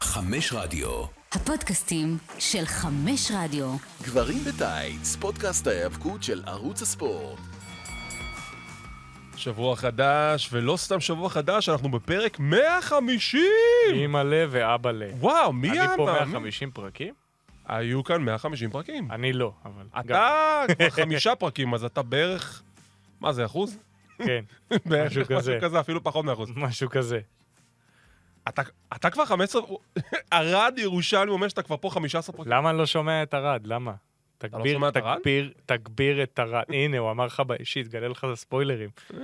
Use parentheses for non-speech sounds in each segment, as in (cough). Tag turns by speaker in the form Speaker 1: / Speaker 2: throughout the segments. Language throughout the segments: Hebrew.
Speaker 1: חמש רדיו.
Speaker 2: הפודקאסטים של חמש רדיו.
Speaker 1: גברים בטייץ, פודקאסט ההיאבקות של ערוץ הספורט.
Speaker 3: שבוע חדש, ולא סתם שבוע חדש, אנחנו בפרק 150!
Speaker 4: (laughs) אימא ל ואבא ל.
Speaker 3: וואו, מי
Speaker 4: אני פה
Speaker 3: אמר?
Speaker 4: 150 פרקים?
Speaker 3: היו כאן 150 פרקים.
Speaker 4: אני לא, אבל... גם,
Speaker 3: אתה כבר חמישה פרקים, אז אתה בערך... מה זה, אחוז?
Speaker 4: כן,
Speaker 3: בערך
Speaker 4: משהו
Speaker 3: משהו
Speaker 4: כזה.
Speaker 3: כזה, אפילו פחות מאחוז.
Speaker 4: משהו כזה.
Speaker 3: אתה- אתה כבר 15... ערד ירושלמי אומר שאתה כבר פה 15 פרקים.
Speaker 4: למה אני לא שומע את ארד? למה? תגביר,
Speaker 3: אוקיי. לא שומע את ארד?
Speaker 4: תגביר, תגביר את ארד. הנה, הוא אמר לך באישי, תגלה לך את הספוילרים.
Speaker 3: אה.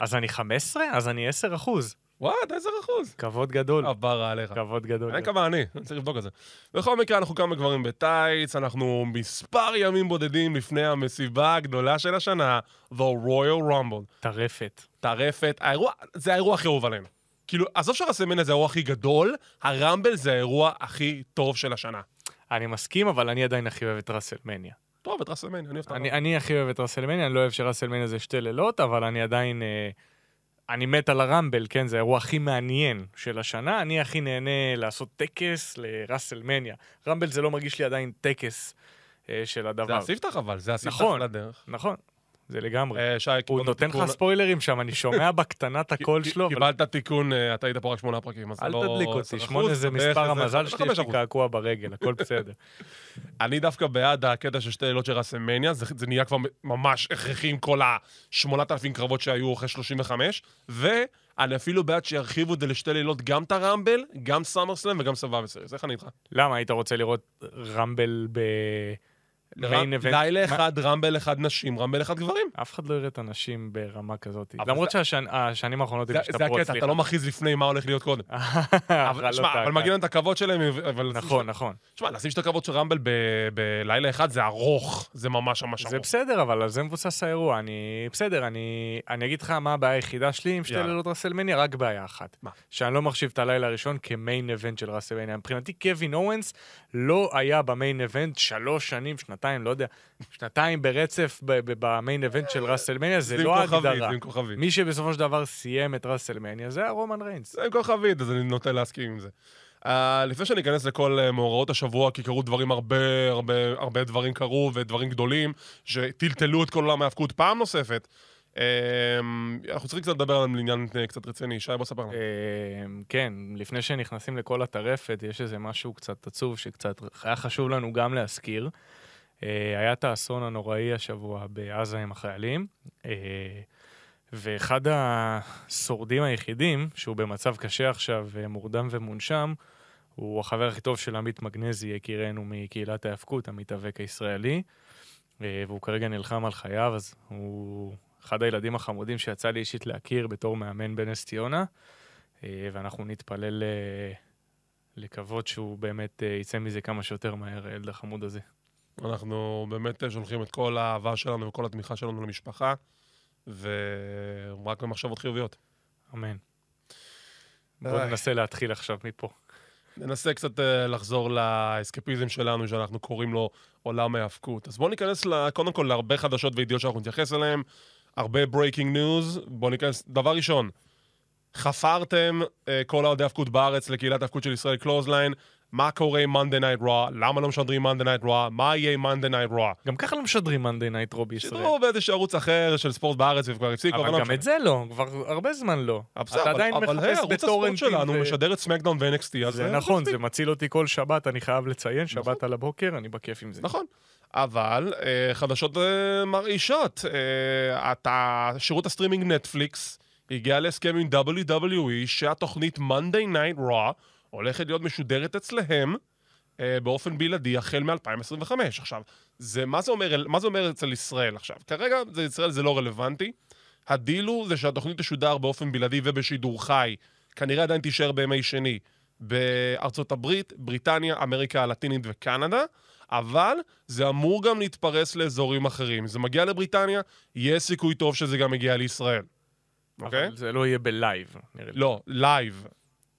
Speaker 4: אז אני 15? אז אני 10 אחוז.
Speaker 3: וואו, אתה עשר אחוז.
Speaker 4: כבוד גדול.
Speaker 3: עברה עליך.
Speaker 4: כבוד גדול.
Speaker 3: אין כמה אני, אני צריך לבדוק את זה. בכל מקרה, אנחנו כמה גברים בטייץ, אנחנו מספר ימים בודדים לפני המסיבה הגדולה של השנה, The Royal Rumble.
Speaker 4: טרפת.
Speaker 3: טרפת, האירוע, זה האירוע הכי אהוב עלינו. כאילו, עזוב שהרסלמניה זה האירוע הכי גדול, הרמבל זה האירוע הכי טוב של השנה.
Speaker 4: אני מסכים, אבל אני עדיין הכי אוהב את ראסלמניה.
Speaker 3: טוב, את רסלמניה, אני אוהב את
Speaker 4: אני,
Speaker 3: הרמבל.
Speaker 4: אני הכי אוהב את ראסלמניה, אני לא אוהב שראסלמניה זה שתי לילות, אבל אני עדיין... אה, אני מת על הרמבל, כן? זה האירוע הכי מעניין של השנה. אני הכי נהנה לעשות טקס לראסלמניה. רמבל זה לא מרגיש לי עדיין טקס אה, של הדבר.
Speaker 3: זה הספתח אבל, זה הספתח
Speaker 4: נכון.
Speaker 3: לדרך.
Speaker 4: נכון, זה לגמרי.
Speaker 3: אה, שי,
Speaker 4: הוא
Speaker 3: קיבלת
Speaker 4: נותן
Speaker 3: תיקון-
Speaker 4: לך ספוילרים שם, אני
Speaker 3: (laughs)
Speaker 4: שומע בקטנת הקול
Speaker 3: ק-
Speaker 4: שלו, אבל
Speaker 3: קיבלת תיקון, אה, אתה היית פה רק שמונה פרקים, אז
Speaker 4: אל
Speaker 3: לא...
Speaker 4: תדליק אותי,
Speaker 3: 10%,
Speaker 4: שמונה זה
Speaker 3: בערך
Speaker 4: מספר
Speaker 3: איזה
Speaker 4: המזל שלי, יש לי
Speaker 3: 55%.
Speaker 4: קעקוע ברגל, הכל בסדר. (laughs)
Speaker 3: אני דווקא בעד הקטע של שתי לילות של רסלמניה, זה, זה נהיה כבר ממש הכרחי עם כל ה-8,000 קרבות שהיו אחרי 35, ואני אפילו בעד שירחיבו את זה לשתי לילות גם את הרמבל, גם סאמר סלאם וגם סבבה סריס, איך אני איתך?
Speaker 4: למה, היית רוצה לראות רמבל ב...
Speaker 3: רם-
Speaker 4: מיין איבנט?
Speaker 3: לילה
Speaker 4: מה-
Speaker 3: אחד, רמבל אחד נשים, רמבל אחד גברים.
Speaker 4: אף אחד לא יראה את הנשים ברמה כזאת.
Speaker 3: אבל
Speaker 4: למרות שהשנים האחרונות הם
Speaker 3: זה זה
Speaker 4: השתפרו, (laughs) לא
Speaker 3: הקטע, אתה לא מכריז לפני מה הולך להיות קודם. אבל שמע, אבל מגיע להם את הכבוד שלהם, אבל...
Speaker 4: נכון, נכון.
Speaker 3: שמע, לשים שתי כבוד של רמבל ב- בלילה אחד זה ארוך, זה ממש ממש
Speaker 4: זה
Speaker 3: ארוך.
Speaker 4: בסדר, אבל על זה מבוסס האירוע. אני... בסדר, אני אני אגיד לך מה הבעיה היחידה שלי עם שתי
Speaker 3: יאללה.
Speaker 4: לילות רסלמניה, רק בעיה אחת.
Speaker 3: מה?
Speaker 4: שאני לא מחשיב את הלילה הראשון כמיין אבנט של רסלמניה. מבחינתי, קווין אורנס לא היה במיין אבנט שלוש שנים, שנתיים, לא יודע, שנתיים ברצף ב- ב- במיין אבנט של רסלמניה, זה
Speaker 3: זה עם
Speaker 4: לא
Speaker 3: כוכבית,
Speaker 4: הגדרה.
Speaker 3: זה עם כוכבית.
Speaker 4: מי שבסופו של דבר סיים את רסלמניה זה היה רומן ריינס.
Speaker 3: זה עם כוכבית, אז אני נוטה להסכים עם זה. Uh, לפני שאני אכנס לכל uh, מאורעות השבוע, כי קרו דברים הרבה, הרבה, הרבה דברים קרו, ודברים גדולים, שטלטלו את כל עולם ההאבקות פעם נוספת. Uh, אנחנו צריכים קצת לדבר על עניין uh, קצת רציני. שי, בוא ספר לנו.
Speaker 4: אמ, כן, לפני שנכנסים לכל הטרפת, יש איזה משהו קצת עצוב שקצת היה חשוב לנו גם להזכיר. אה, היה את האסון הנוראי השבוע בעזה עם החיילים, אה, ואחד השורדים היחידים, שהוא במצב קשה עכשיו, אה, מורדם ומונשם, הוא החבר הכי טוב של עמית מגנזי, יקירנו מקהילת ההאבקות, המתאבק הישראלי, אה, והוא כרגע נלחם על חייו, אז הוא אחד הילדים החמודים שיצא לי אישית להכיר בתור מאמן בנס ציונה. אה, ואנחנו נתפלל אה, לקוות שהוא באמת אה, יצא מזה כמה שיותר מהר, הילד החמוד הזה.
Speaker 3: אנחנו באמת אה, שולחים את כל האהבה שלנו וכל התמיכה שלנו למשפחה, ורק במחשבות חיוביות.
Speaker 4: אמן. בואו
Speaker 3: איי.
Speaker 4: ננסה להתחיל עכשיו מפה.
Speaker 3: ננסה קצת אה, לחזור לאסקפיזם שלנו, שאנחנו קוראים לו עולם ההאבקות. אז בואו ניכנס ל- קודם כל להרבה חדשות וידיעות שאנחנו נתייחס אליהן, הרבה ברייקינג ניוז. בואו ניכנס, דבר ראשון, חפרתם אה, כל האוהדי האבקות בארץ לקהילת האבקות של ישראל קלוזליין, מה קורה עם Monday Night Raw, למה לא משדרים Monday Night Raw, מה יהיה עם Monday Night Raw.
Speaker 4: גם ככה לא משדרים מאנדי נייט רו בישראל.
Speaker 3: שידרו באיזשהו ערוץ אחר של ספורט בארץ וכבר הפסיקו,
Speaker 4: אבל
Speaker 3: לא
Speaker 4: גם
Speaker 3: משנה.
Speaker 4: את זה לא, כבר הרבה זמן לא.
Speaker 3: אבל בסדר,
Speaker 4: אתה
Speaker 3: אבל-
Speaker 4: עדיין
Speaker 3: אבל היי,
Speaker 4: מחפש
Speaker 3: ערוץ הספורט
Speaker 4: בטורנטים.
Speaker 3: שלנו
Speaker 4: ו-
Speaker 3: משדר את סמקדאון ו-NXT, אז
Speaker 4: זה
Speaker 3: אה,
Speaker 4: נכון, זה מציל אותי כל שבת, אני חייב לציין, שבת על הבוקר, אני בכיף עם זה.
Speaker 3: נכון. אבל אה, חדשות אה, מרעישות. אה, אתה, שירות הסטרימינג נטפליקס הגיע להסכם עם WWE שהתוכנית Monday Night Raw הולכת להיות משודרת אצלהם אה, באופן בלעדי החל מ-2025. עכשיו, זה, מה, זה אומר, אל- מה זה אומר אצל ישראל עכשיו? כרגע זה, ישראל זה לא רלוונטי. הדיל הוא זה שהתוכנית תשודר באופן בלעדי ובשידור חי. כנראה עדיין תישאר בימי שני בארצות הברית, בריטניה, אמריקה הלטינית וקנדה, אבל זה אמור גם להתפרס לאזורים אחרים. זה מגיע לבריטניה, יהיה סיכוי טוב שזה גם מגיע לישראל. אוקיי?
Speaker 4: אבל זה לא יהיה בלייב, נראה לי.
Speaker 3: לא, לייב.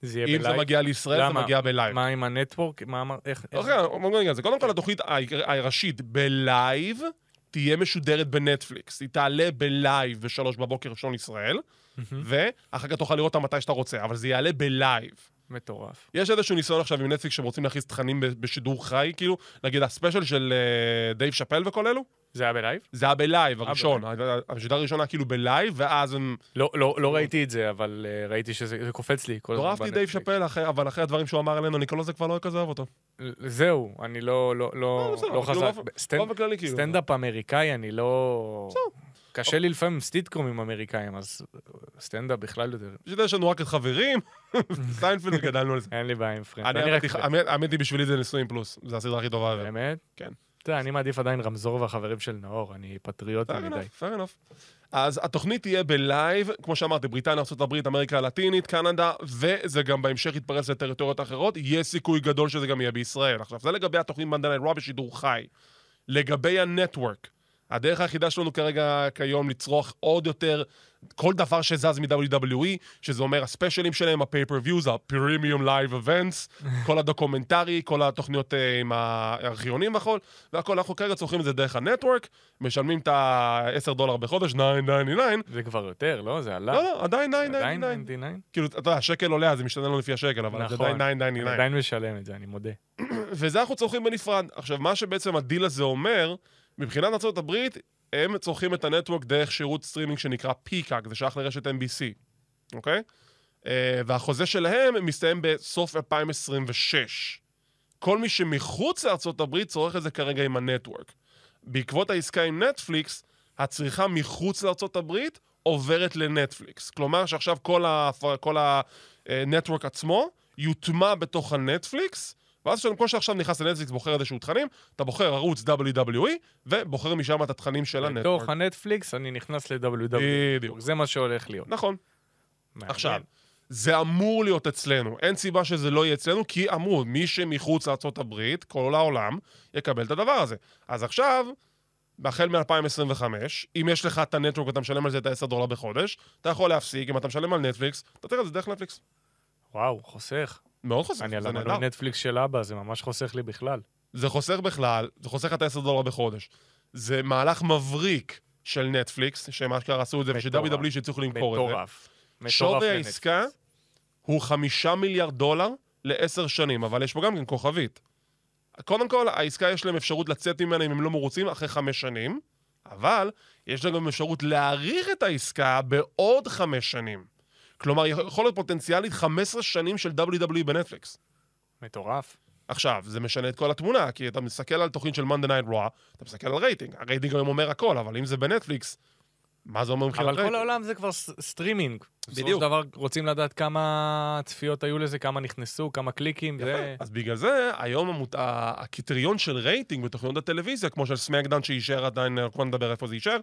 Speaker 4: זה יהיה
Speaker 3: אם זה
Speaker 4: בלייב.
Speaker 3: מגיע לישראל, זה
Speaker 4: למה?
Speaker 3: מגיע בלייב.
Speaker 4: מה עם הנטוורק? מה אמר... איך... איך-
Speaker 3: אוקיי, בוא נגיד על זה. קודם כל, התוכנית העיקר- הראשית בלייב תהיה משודרת בנטפליקס. היא תעלה בלייב בשלוש בבוקר ראשון ישראל, ואחר כך תוכל לראות אותה מתי שאתה רוצה, אבל זה יעלה בלייב.
Speaker 4: מטורף.
Speaker 3: יש איזשהו ניסיון עכשיו עם נטפליקס שהם רוצים להכניס תכנים ב- בשידור חי, כאילו, נגיד הספיישל של אה, דייב שאפל וכל אלו,
Speaker 4: זה היה בלייב?
Speaker 3: זה היה בלייב הראשון, השידור הראשון היה כאילו בלייב, ואז הם...
Speaker 4: לא, לא, לא ראיתי את זה, אבל אה, ראיתי שזה זה קופץ לי כל הזמן.
Speaker 3: לא אהבתי דייב
Speaker 4: בנטפליקס.
Speaker 3: שאפל, אחרי- אבל אחרי הדברים שהוא אמר עלינו, אני כל זה כבר לא כזה אוהב אותו.
Speaker 4: זהו, אני לא, לא,
Speaker 3: לא,
Speaker 4: לא,
Speaker 3: בסדר,
Speaker 4: לא
Speaker 3: אבל כאילו
Speaker 4: חזק.
Speaker 3: באופן-
Speaker 4: סטנד-
Speaker 3: באופן כללי, כאילו.
Speaker 4: סטנדאפ אמריקאי, אני לא... קשה לי לפעמים עם סטיטקומים אמריקאים, אז אה, סטנדאפ בכלל יותר...
Speaker 3: פשוט יש לנו רק את חברים, (laughs) סיינפלד גדלנו על זה.
Speaker 4: אין לי בעיה עם פרנד.
Speaker 3: (laughs) אני אהבתי, האמת- האמת היא בשבילי זה נישואים פלוס, זו הסדרה הכי טובה. ever.
Speaker 4: באמת?
Speaker 3: כן.
Speaker 4: אתה יודע, אני מעדיף עדיין רמזור והחברים של נאור, אני פטריוט
Speaker 3: Fair
Speaker 4: מדי.
Speaker 3: enough, fair enough. אז התוכנית תהיה בלייב, כמו שאמרתי, בריטניה, ארה"ב, אמריקה הלטינית, קנדה, וזה גם בהמשך יתפרס לטריטוריות אחרות, יש סיכוי גדול שזה גם יהיה בישראל. עכשיו, זה לגבי התוכנית מנדלי רוע בשידור חי. לגבי הנטוורק, הדרך היחידה שלנו כרגע כיום לצרוך עוד יותר כל דבר שזז מ-WWE, שזה אומר הספיישלים שלהם, ה-pay-per-views, ה-premium live events, כל הדוקומנטרי, כל התוכניות אה, עם הארכיונים והכל, והכל, אנחנו כרגע צורכים את זה דרך הנטוורק, משלמים את ה-10 דולר בחודש, 999,
Speaker 4: זה כבר יותר, לא? זה עלה.
Speaker 3: לא, לא, עדיין
Speaker 4: עדיין
Speaker 3: 999.
Speaker 4: 99?
Speaker 3: כאילו, אתה יודע, השקל עולה, אז זה משתנה לנו לפי השקל, אבל זה
Speaker 4: נכון.
Speaker 3: עדיין
Speaker 4: אני
Speaker 3: 999.
Speaker 4: עדיין משלם את זה, אני מודה.
Speaker 3: וזה אנחנו צורכים בנפרד. עכשיו, מה שבעצם הדיל הזה אומר, מבחינת ארה"ב, הם צורכים את הנטוורק דרך שירות סטרימינג שנקרא פיקאק, זה שייך לרשת NBC, אוקיי? אה, והחוזה שלהם מסתיים בסוף 2026. כל מי שמחוץ לארה"ב צורך את זה כרגע עם הנטוורק. בעקבות העסקה עם נטפליקס, הצריכה מחוץ לארה"ב עוברת לנטפליקס. כלומר שעכשיו כל ה- כל הנטוורק עצמו יוטמע בתוך הנטפליקס, ואז כשאני- כמו שעכשיו נכנס לנטפליקס, בוחר איזשהו תכנים, אתה בוחר ערוץ WWE, ובוחר משם את התכנים של הנטוורק.
Speaker 4: בתוך הנטפליקס אני נכנס ל-WW.
Speaker 3: לא בדיוק.
Speaker 4: זה מה שהולך להיות.
Speaker 3: נכון.
Speaker 4: מעניין.
Speaker 3: עכשיו, זה אמור להיות אצלנו. אין סיבה שזה לא יהיה אצלנו, כי אמרו, מי שמחוץ לארה"ב, כל העולם, יקבל את הדבר הזה. אז עכשיו, החל מ-2025, אם יש לך את הנטוורק ואתה משלם על זה את ה-10 דולר בחודש, אתה יכול להפסיק, אם אתה משלם על נטפליקס, אתה תראה את זה דרך נטפליקס.
Speaker 4: וואו, חוסך.
Speaker 3: מאוד חוסך,
Speaker 4: אני על לא
Speaker 3: זה נהדר.
Speaker 4: המנוי נטפליקס של אבא, זה ממש חוסך לי בכלל.
Speaker 3: זה חוסך בכלל, זה חוסך את ה-10 דולר בחודש. זה מהלך מבריק של נטפליקס, שהם אשכרה עשו את זה, ושל
Speaker 4: מטורף.
Speaker 3: WWE E שהצליחו למכור את זה.
Speaker 4: מטורף. מטורף
Speaker 3: שווי
Speaker 4: לנטפליקס.
Speaker 3: העסקה הוא חמישה מיליארד דולר לעשר שנים, אבל יש פה גם כן כוכבית. קודם כל, העסקה יש להם אפשרות לצאת ממנה אם הם לא מרוצים אחרי חמש שנים, אבל יש להם גם אפשרות להאריך את העסקה בעוד חמש שנים. כלומר, יכול להיות פוטנציאלית 15 שנים של WWE בנטפליקס.
Speaker 4: מטורף.
Speaker 3: עכשיו, זה משנה את כל התמונה, כי אתה מסתכל על תוכנית של Monday Night Raw, אתה מסתכל על רייטינג, הרייטינג היום אומר הכל, אבל אם זה בנטפליקס, מה זה אומר מבחינת
Speaker 4: אבל כל
Speaker 3: רייטינג?
Speaker 4: העולם זה כבר ס- סטרימינג. בסופו של
Speaker 3: בדיוק.
Speaker 4: דבר רוצים לדעת כמה צפיות היו לזה, כמה נכנסו, כמה קליקים. זה...
Speaker 3: יפה. אז בגלל זה, היום המות... ה- הקריטריון של רייטינג בתוכניות הטלוויזיה, כמו של סמקדאון שיישאר עדיין, אנחנו לא נדבר איפה זה יישאר,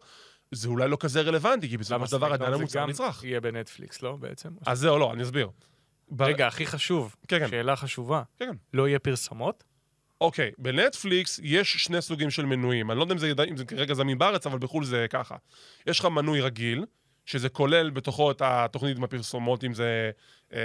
Speaker 3: זה אולי לא כזה רלוונטי, כי בסופו
Speaker 4: למה
Speaker 3: של דבר
Speaker 4: סמקדאון
Speaker 3: עדיין המוצר
Speaker 4: זה גם
Speaker 3: נצרך.
Speaker 4: יהיה בנטפליקס, לא בעצם?
Speaker 3: אז זהו, לא, אני אסביר. ב-
Speaker 4: רגע, הכי חשוב,
Speaker 3: כן, כן.
Speaker 4: שאלה חשובה.
Speaker 3: כן, כן.
Speaker 4: לא יהיה פרסומות?
Speaker 3: אוקיי, בנטפליקס יש שני סוגים של מנויים. אני לא יודע אם זה, אם זה כרגע זמין בארץ, אבל בחו"ל זה ככה. יש לך מנוי רגיל, שזה כולל בתוכו את התוכנית עם הפרסומות, אם זה... אה,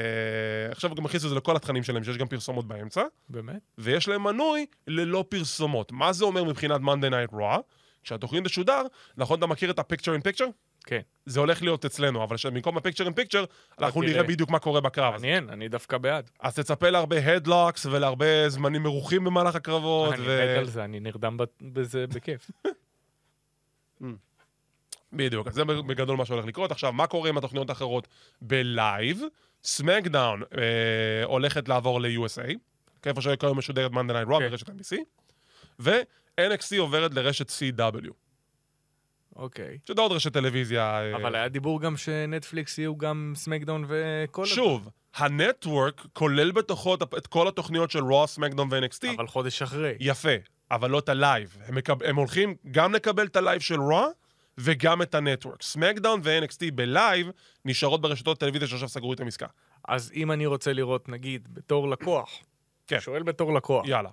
Speaker 3: עכשיו גם הכניסו את זה לכל התכנים שלהם, שיש גם פרסומות באמצע.
Speaker 4: באמת?
Speaker 3: ויש להם מנוי ללא פרסומות. מה זה אומר מבחינת Monday Night Raw? כשהתוכנית תשודר, נכון, אתה מכיר את ה-Picture in Picture?
Speaker 4: כן.
Speaker 3: זה הולך להיות אצלנו, אבל במקום ה-Picture in Picture, אנחנו
Speaker 4: תראה.
Speaker 3: נראה בדיוק מה קורה בקרב. אז-
Speaker 4: מעניין, אוקיי. אני דווקא בעד.
Speaker 3: אז תצפה להרבה הדלוקס ולהרבה זמנים מרוחים במהלך הקרבות.
Speaker 4: אני
Speaker 3: ו-
Speaker 4: מת על זה, אני נרדם ב- בזה בכיף. (laughs)
Speaker 3: בדיוק, אז זה בגדול מה שהולך לקרות. עכשיו, מה קורה עם התוכניות האחרות בלייב? סמקדאון אה, הולכת לעבור ל-USA, כן, איפה שכיום משודרת Monday Night Raw
Speaker 4: כן.
Speaker 3: ברשת NBC, ו-NXC עוברת לרשת CW,
Speaker 4: אוקיי.
Speaker 3: שזה עוד רשת טלוויזיה. אה,
Speaker 4: אבל היה דיבור גם שנטפליקס יהיו גם סמקדאון וכל...
Speaker 3: שוב, הנטוורק כולל בתוכו את- את כל התוכניות של Raw, סמקדאון ו-NXT,
Speaker 4: אבל חודש אחרי.
Speaker 3: יפה, אבל לא את הלייב. הם, מקב... הם הולכים גם לקבל את הלייב של רוע, וגם את הנטוורק. סמקדאון ו-NXT בלייב נשארות ברשתות טלוויזיה שעכשיו סגרו איתם עסקה.
Speaker 4: נכון. אז אם אני רוצה לראות, נגיד, בתור לקוח,
Speaker 3: כן.
Speaker 4: שואל בתור לקוח,
Speaker 3: יאללה.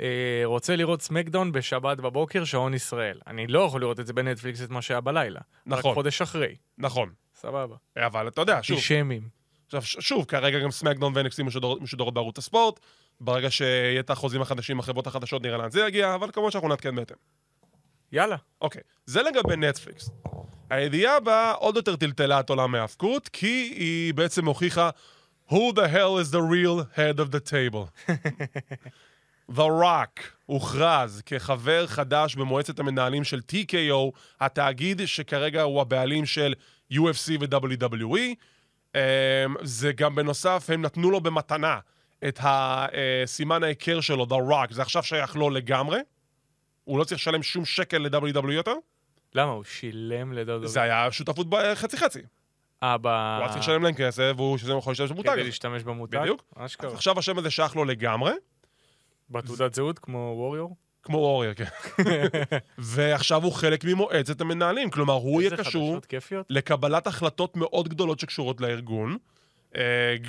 Speaker 4: אה, רוצה לראות סמקדאון בשבת בבוקר, שעון ישראל. אני לא יכול לראות את זה בנטפליקס, את מה שהיה בלילה.
Speaker 3: נכון.
Speaker 4: רק חודש אחרי.
Speaker 3: נכון.
Speaker 4: סבבה.
Speaker 3: אבל אתה יודע, שוב,
Speaker 4: אנטישמים.
Speaker 3: עכשיו, ש- שוב, כרגע גם סמקדאון ו-NXT משודרות, משודרות בערוץ הספורט. ברגע שיהיה את החוזים החדשים, החברות החדשות, נראה לאן זה יגיע, אבל כמובן שאנחנו נעדכן בהתאם.
Speaker 4: יאללה.
Speaker 3: אוקיי, זה לגבי נטפליקס. הידיעה הבאה עוד יותר טלטלה את עולם ההאבקות, כי היא בעצם הוכיחה Who the hell is the real head of the table? (laughs) The Rock הוכרז כחבר חדש במועצת המנהלים של TKO, התאגיד שכרגע הוא הבעלים של UFC ו-WWE. אמ, זה גם בנוסף, הם נתנו לו במתנה את הסימן ההיכר שלו, The Rock, זה עכשיו שייך לו לגמרי. הוא לא צריך לשלם שום שקל ל-WWE יותר.
Speaker 4: למה? הוא שילם לדודו.
Speaker 3: זה היה שותפות ב- חצי-חצי.
Speaker 4: אה, ב...
Speaker 3: הוא היה צריך לשלם להם כסף, והוא שזה יכול להשתמש במותג.
Speaker 4: כדי
Speaker 3: הזה.
Speaker 4: להשתמש במותג?
Speaker 3: בדיוק. אז
Speaker 4: אשכרה.
Speaker 3: עכשיו השם הזה שייך לו לגמרי.
Speaker 4: בתעודת זהות, כמו ווריור?
Speaker 3: כמו אוריה,
Speaker 4: (laughs)
Speaker 3: כן. ועכשיו הוא חלק ממועצת המנהלים, כלומר, הוא יהיה
Speaker 4: איזה
Speaker 3: קשור
Speaker 4: חדשות כיפיות?
Speaker 3: לקבלת החלטות מאוד גדולות שקשורות לארגון, אה,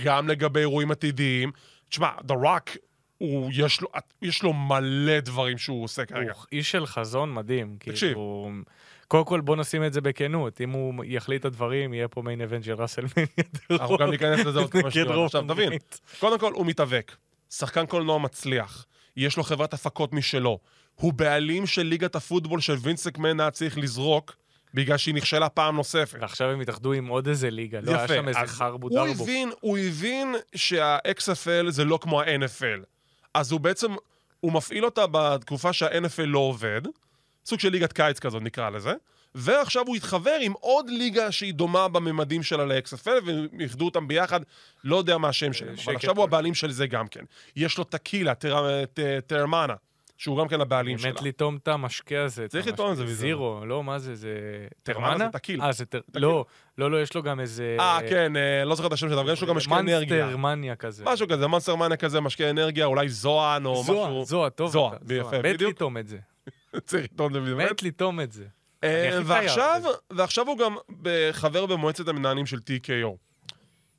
Speaker 3: גם לגבי אירועים עתידיים. תשמע, The Rock, הוא, יש, לו, יש לו מלא דברים שהוא עושה כרגע.
Speaker 4: הוא איש של חזון מדהים. כאילו,
Speaker 3: תקשיב.
Speaker 4: הוא- קודם כל בוא נשים את זה בכנות, אם הוא יחליט את הדברים, יהיה פה מיין אבנט של ראסל (laughs) מניה.
Speaker 3: אנחנו גם ניכנס לזה עוד כמה
Speaker 4: נגד
Speaker 3: שניות.
Speaker 4: רוב
Speaker 3: עכשיו, תבין,
Speaker 4: המדינות.
Speaker 3: קודם כל, הוא מתאבק. שחקן קולנוע מצליח. יש לו חברת הפקות משלו. הוא בעלים של ליגת הפוטבול של וינסקמן היה צריך לזרוק, בגלל שהיא נכשלה פעם נוספת.
Speaker 4: ועכשיו הם התאחדו עם עוד איזה ליגה, לא היה
Speaker 3: יפה,
Speaker 4: שם איזה
Speaker 3: אז
Speaker 4: חרבו
Speaker 3: הוא
Speaker 4: דרבו.
Speaker 3: הבין, הוא הבין שה-XFL זה לא כמו ה-NFL. אז הוא בעצם, הוא מפעיל אותה בתקופה שה-NFL לא עובד, סוג של ליגת קיץ כזאת נקרא לזה, ועכשיו הוא התחבר עם עוד ליגה שהיא דומה בממדים שלה ל-XFL, והם איחדו אותם ביחד, לא יודע מה השם שלהם, אבל
Speaker 4: שקט
Speaker 3: עכשיו הוא
Speaker 4: כלשהו.
Speaker 3: הבעלים של זה גם כן. יש לו טקילה, טר- ט- טרמנה, שהוא גם כן הבעלים שלה.
Speaker 4: באמת לטעום את המשקה הזה. את
Speaker 3: צריך
Speaker 4: המשקה-
Speaker 3: לטעום את זה וזה.
Speaker 4: זירו, לא, מה זה, זה...
Speaker 3: טרמנה
Speaker 4: טרמנה?
Speaker 3: זה טקיל.
Speaker 4: אה, זה טר... לא, לא, לא, יש לו גם איזה...
Speaker 3: אה, כן, אה, לא זוכר את השם שלה, אבל יש לו גם משקה אנרגיה.
Speaker 4: מנסטר מניה כזה.
Speaker 3: משהו כזה, מונסטר מניה כזה, משקה אנרגיה, אולי זוהן או משהו.
Speaker 4: זוהה, זוהה, טוב.
Speaker 3: זוהה,
Speaker 4: אתה,
Speaker 3: יפה,
Speaker 4: מת
Speaker 3: בדיוק.
Speaker 4: לטעום את זה.
Speaker 3: צריך לטעון את זה באמת.
Speaker 4: מת לטעום את זה.
Speaker 3: אה,
Speaker 4: אני הכי
Speaker 3: ועכשיו,
Speaker 4: חייב
Speaker 3: ועכשיו הוא גם ב- חבר במועצת המנהלים של TKO.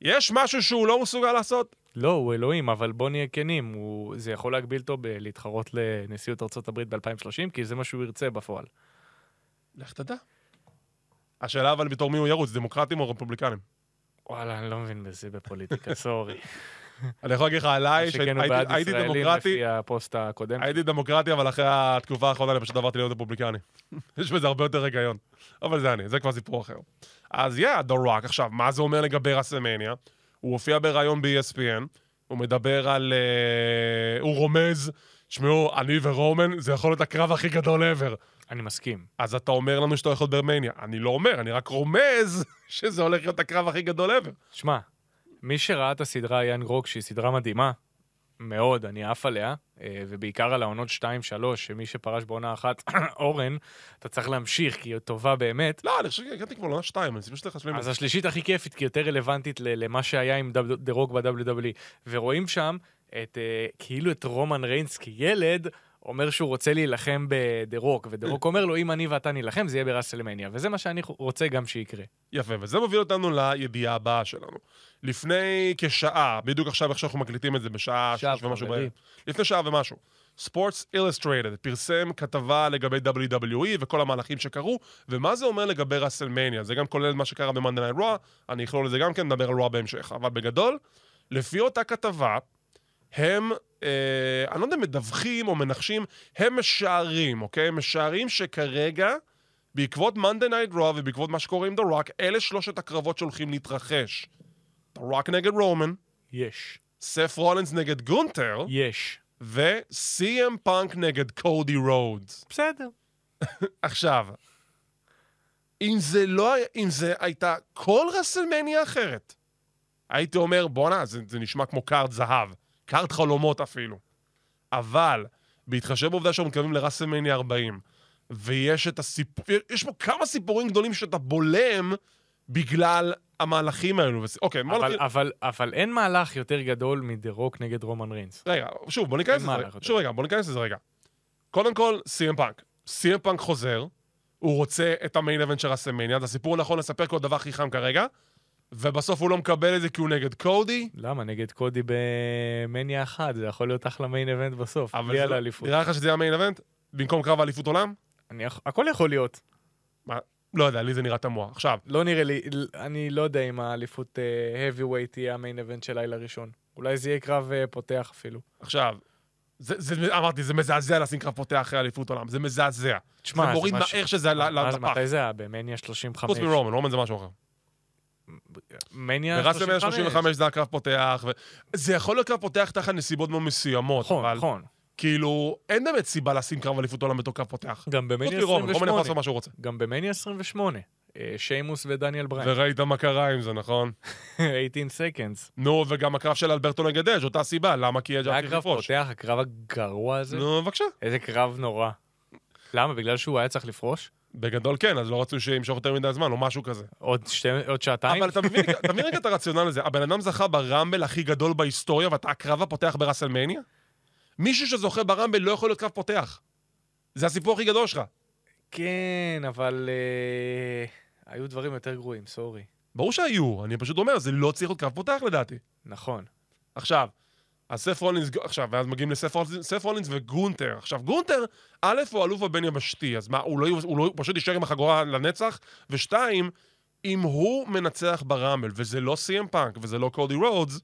Speaker 3: יש משהו שהוא לא מסוגל לעשות?
Speaker 4: לא, הוא אלוהים, אבל בוא נהיה כנים, הוא... זה יכול להגביל אותו בלהתחרות לנשיאות ארה"ב ב-2030, כי זה מה שהוא ירצה בפועל.
Speaker 3: לך תדע. השאלה אבל בתור מי הוא ירוץ, דמוקרטים או רפובליקנים?
Speaker 4: וואלה, אני לא מבין בזה (laughs) בפוליטיקה, סורי.
Speaker 3: אני יכול להגיד לך עליי,
Speaker 4: שכן הוא
Speaker 3: שהייתי
Speaker 4: בעד
Speaker 3: הייתי
Speaker 4: ישראלים
Speaker 3: דמוקרטי,
Speaker 4: לפי הפוסט הקודם.
Speaker 3: כן. הייתי דמוקרטי, אבל אחרי התקופה האחרונה אני פשוט עברתי להיות רפובליקני. (laughs) יש בזה הרבה יותר היגיון. אבל זה אני, זה כבר סיפור אחר. אז יא, The Rock. עכשיו, מה זה אומר לגבי רסלמניה? הוא הופיע בריאיון ב-ESPN, הוא מדבר על... אה, הוא רומז, תשמעו, אני ורומן, זה יכול להיות הקרב הכי גדול ever.
Speaker 4: אני מסכים.
Speaker 3: אז אתה אומר לנו שאתה הולך להיות ברמניה. אני לא אומר, אני רק רומז (laughs) שזה הולך להיות הקרב הכי גדול ever.
Speaker 4: שמע, מי שראה את הסדרה יאן גרוק, שהיא סדרה מדהימה, מאוד, אני עף עליה, אה, ובעיקר על העונות 2-3, שמי שפרש בעונה אחת, (coughs) אורן, אתה צריך להמשיך, כי היא טובה באמת.
Speaker 3: לא, אני חושב שהגעתי כבר לעונה שתיים, אני חושב שאתה חשבים על
Speaker 4: אז
Speaker 3: זה.
Speaker 4: השלישית הכי כיפית, כי יותר רלוונטית ל- למה שהיה עם דב- דה רוק ב-WWE. E. ורואים שם את, אה, כאילו את רומן ריינס כילד, אומר שהוא רוצה להילחם בדה רוק, ודה רוק אומר לו, אם אני ואתה נילחם, זה יהיה בראסלמניה. וזה מה שאני רוצה גם שיקרה.
Speaker 3: יפה, וזה מוביל אותנו לידיעה הבאה שלנו. לפני כשעה, בדיוק עכשיו, איך שאנחנו מקליטים את זה, בשעה
Speaker 4: עכשיו,
Speaker 3: שש ומשהו
Speaker 4: חברים.
Speaker 3: בערב. לפני שעה ומשהו. Sports Illustrated פרסם כתבה לגבי WWE וכל המהלכים שקרו, ומה זה אומר לגבי ראסלמניה. זה גם כולל מה שקרה ב-Monday Night Raw, אני אכלול את זה גם כן, נדבר על Raw בהמשך. אבל בגדול, לפי אותה כתבה, הם, אה, אני לא יודע אם מדווחים או מנחשים, הם משערים, אוקיי? הם משערים שכרגע, בעקבות Monday Night Raw ובעקבות מה שקורה עם The Rock, אלה שלושת הקרבות שהולכים להתרחש. The Rock נגד רומן,
Speaker 4: יש.
Speaker 3: סף רולנס נגד גונטר,
Speaker 4: יש.
Speaker 3: ו-CM פאנק נגד קודי רודס.
Speaker 4: בסדר.
Speaker 3: עכשיו, אם זה לא היה, אם זה הייתה כל רסלמניה אחרת, הייתי אומר, בואנה, זה, זה נשמע כמו קארד זהב, קארד חלומות אפילו. אבל, בהתחשב בעובדה שאנחנו מתקרבים לרסלמניה 40, ויש את הסיפור, יש פה כמה סיפורים גדולים שאתה בולם בגלל המהלכים האלו. וס- אוקיי, בוא
Speaker 4: אבל,
Speaker 3: נתחיל...
Speaker 4: אבל, אבל אין מהלך יותר גדול מדה רוק נגד רומן ריינס.
Speaker 3: רגע, שוב, בוא ניכנס
Speaker 4: אין מה
Speaker 3: לזה.
Speaker 4: לעשות.
Speaker 3: שוב, רגע, בוא ניכנס לזה רגע. קודם כל, סי.אם פאנק. סי.אם פאנק חוזר, הוא רוצה את המיין אבנט של רסמניה, זה הסיפור נכון לספר כל דבר הכי חם כרגע, ובסוף הוא לא מקבל את זה כי הוא נגד קודי.
Speaker 4: למה? נגד קודי במניה אחת, זה יכול להיות אחלה מיין אבנט בסוף,
Speaker 3: אבל
Speaker 4: בלי
Speaker 3: זה
Speaker 4: על
Speaker 3: לא-
Speaker 4: האליפות.
Speaker 3: נראה לך שזה יהיה המיין אבנט? במקום קרב האליפות עולם?
Speaker 4: אני יכ- הכל יכול להיות.
Speaker 3: מה? לא יודע, לי זה נראה תמוה. עכשיו,
Speaker 4: לא נראה לי, ל- אני לא יודע אם האליפות אה, heavyweight תהיה המיין אבנט של לילה ראשון. אולי זה יהיה קרב אה, פותח אפילו.
Speaker 3: עכשיו, זה, זה, אמרתי, זה מזעזע לשים קרב פותח אחרי אליפות עולם, זה מזעזע.
Speaker 4: תשמע,
Speaker 3: זה מוריד מהר שזה ל-
Speaker 4: מה-
Speaker 3: ל- לפח.
Speaker 4: מתי זה היה? במניה 35.
Speaker 3: חוץ מרומן, רומן זה משהו אחר.
Speaker 4: מניה
Speaker 3: ורץ ל-135
Speaker 4: 35.
Speaker 3: 35 זה הקרב פותח, ו... זה יכול להיות קרב פותח תחת נסיבות מאוד מסוימות,
Speaker 4: נכון,
Speaker 3: אבל
Speaker 4: נכון.
Speaker 3: כאילו, אין באמת סיבה לשים קרב אליפות עולם בתור קרב פותח.
Speaker 4: גם
Speaker 3: חוץ
Speaker 4: במניה
Speaker 3: מרומן, רומן יכול לעשות
Speaker 4: 28.
Speaker 3: מה שהוא רוצה.
Speaker 4: גם במניה 28. אה, שיימוס ודניאל (laughs) בריין.
Speaker 3: וראית מה קרה עם זה, נכון?
Speaker 4: 18 seconds.
Speaker 3: נו, וגם הקרב של אלברטו נגד אג', אותה סיבה, למה כי אג'
Speaker 4: זה
Speaker 3: היה
Speaker 4: היה
Speaker 3: צריך
Speaker 4: קרב
Speaker 3: לפרוש.
Speaker 4: פותח, הקרב הגרוע הזה.
Speaker 3: נו, בבקשה.
Speaker 4: איזה קרב נורא. למה? בגלל שהוא היה צריך לפרוש?
Speaker 3: בגדול כן, אז לא רצו שימשוך יותר מדי זמן, או משהו כזה.
Speaker 4: עוד שתי- עוד שעתיים?
Speaker 3: אבל אתה מבין אתה מבין רגע את הרציונל הזה, הבן אדם זכה ברמבל הכי גדול בהיסטוריה, ואתה הקרב הפותח בראסלמניה? מישהו שזוכה ברמבל לא יכול להיות קרב פותח. זה הסיפור הכי גדול שלך.
Speaker 4: כן, אבל אה, היו דברים יותר גרועים, סורי.
Speaker 3: ברור שהיו, אני פשוט אומר, זה לא צריך להיות קרב פותח לדעתי.
Speaker 4: נכון.
Speaker 3: עכשיו, אז סף רולינס, עכשיו, ואז מגיעים לסף רולינס, סף רולינס וגונטר. עכשיו, גונטר, א', הוא אלוף הבין יבשתי, אז מה, הוא, לא, הוא, לא, הוא פשוט יישאר עם החגורה לנצח? ושתיים, אם הוא מנצח ברמבל, וזה לא סי.אם פאנק, וזה לא קודי רודס,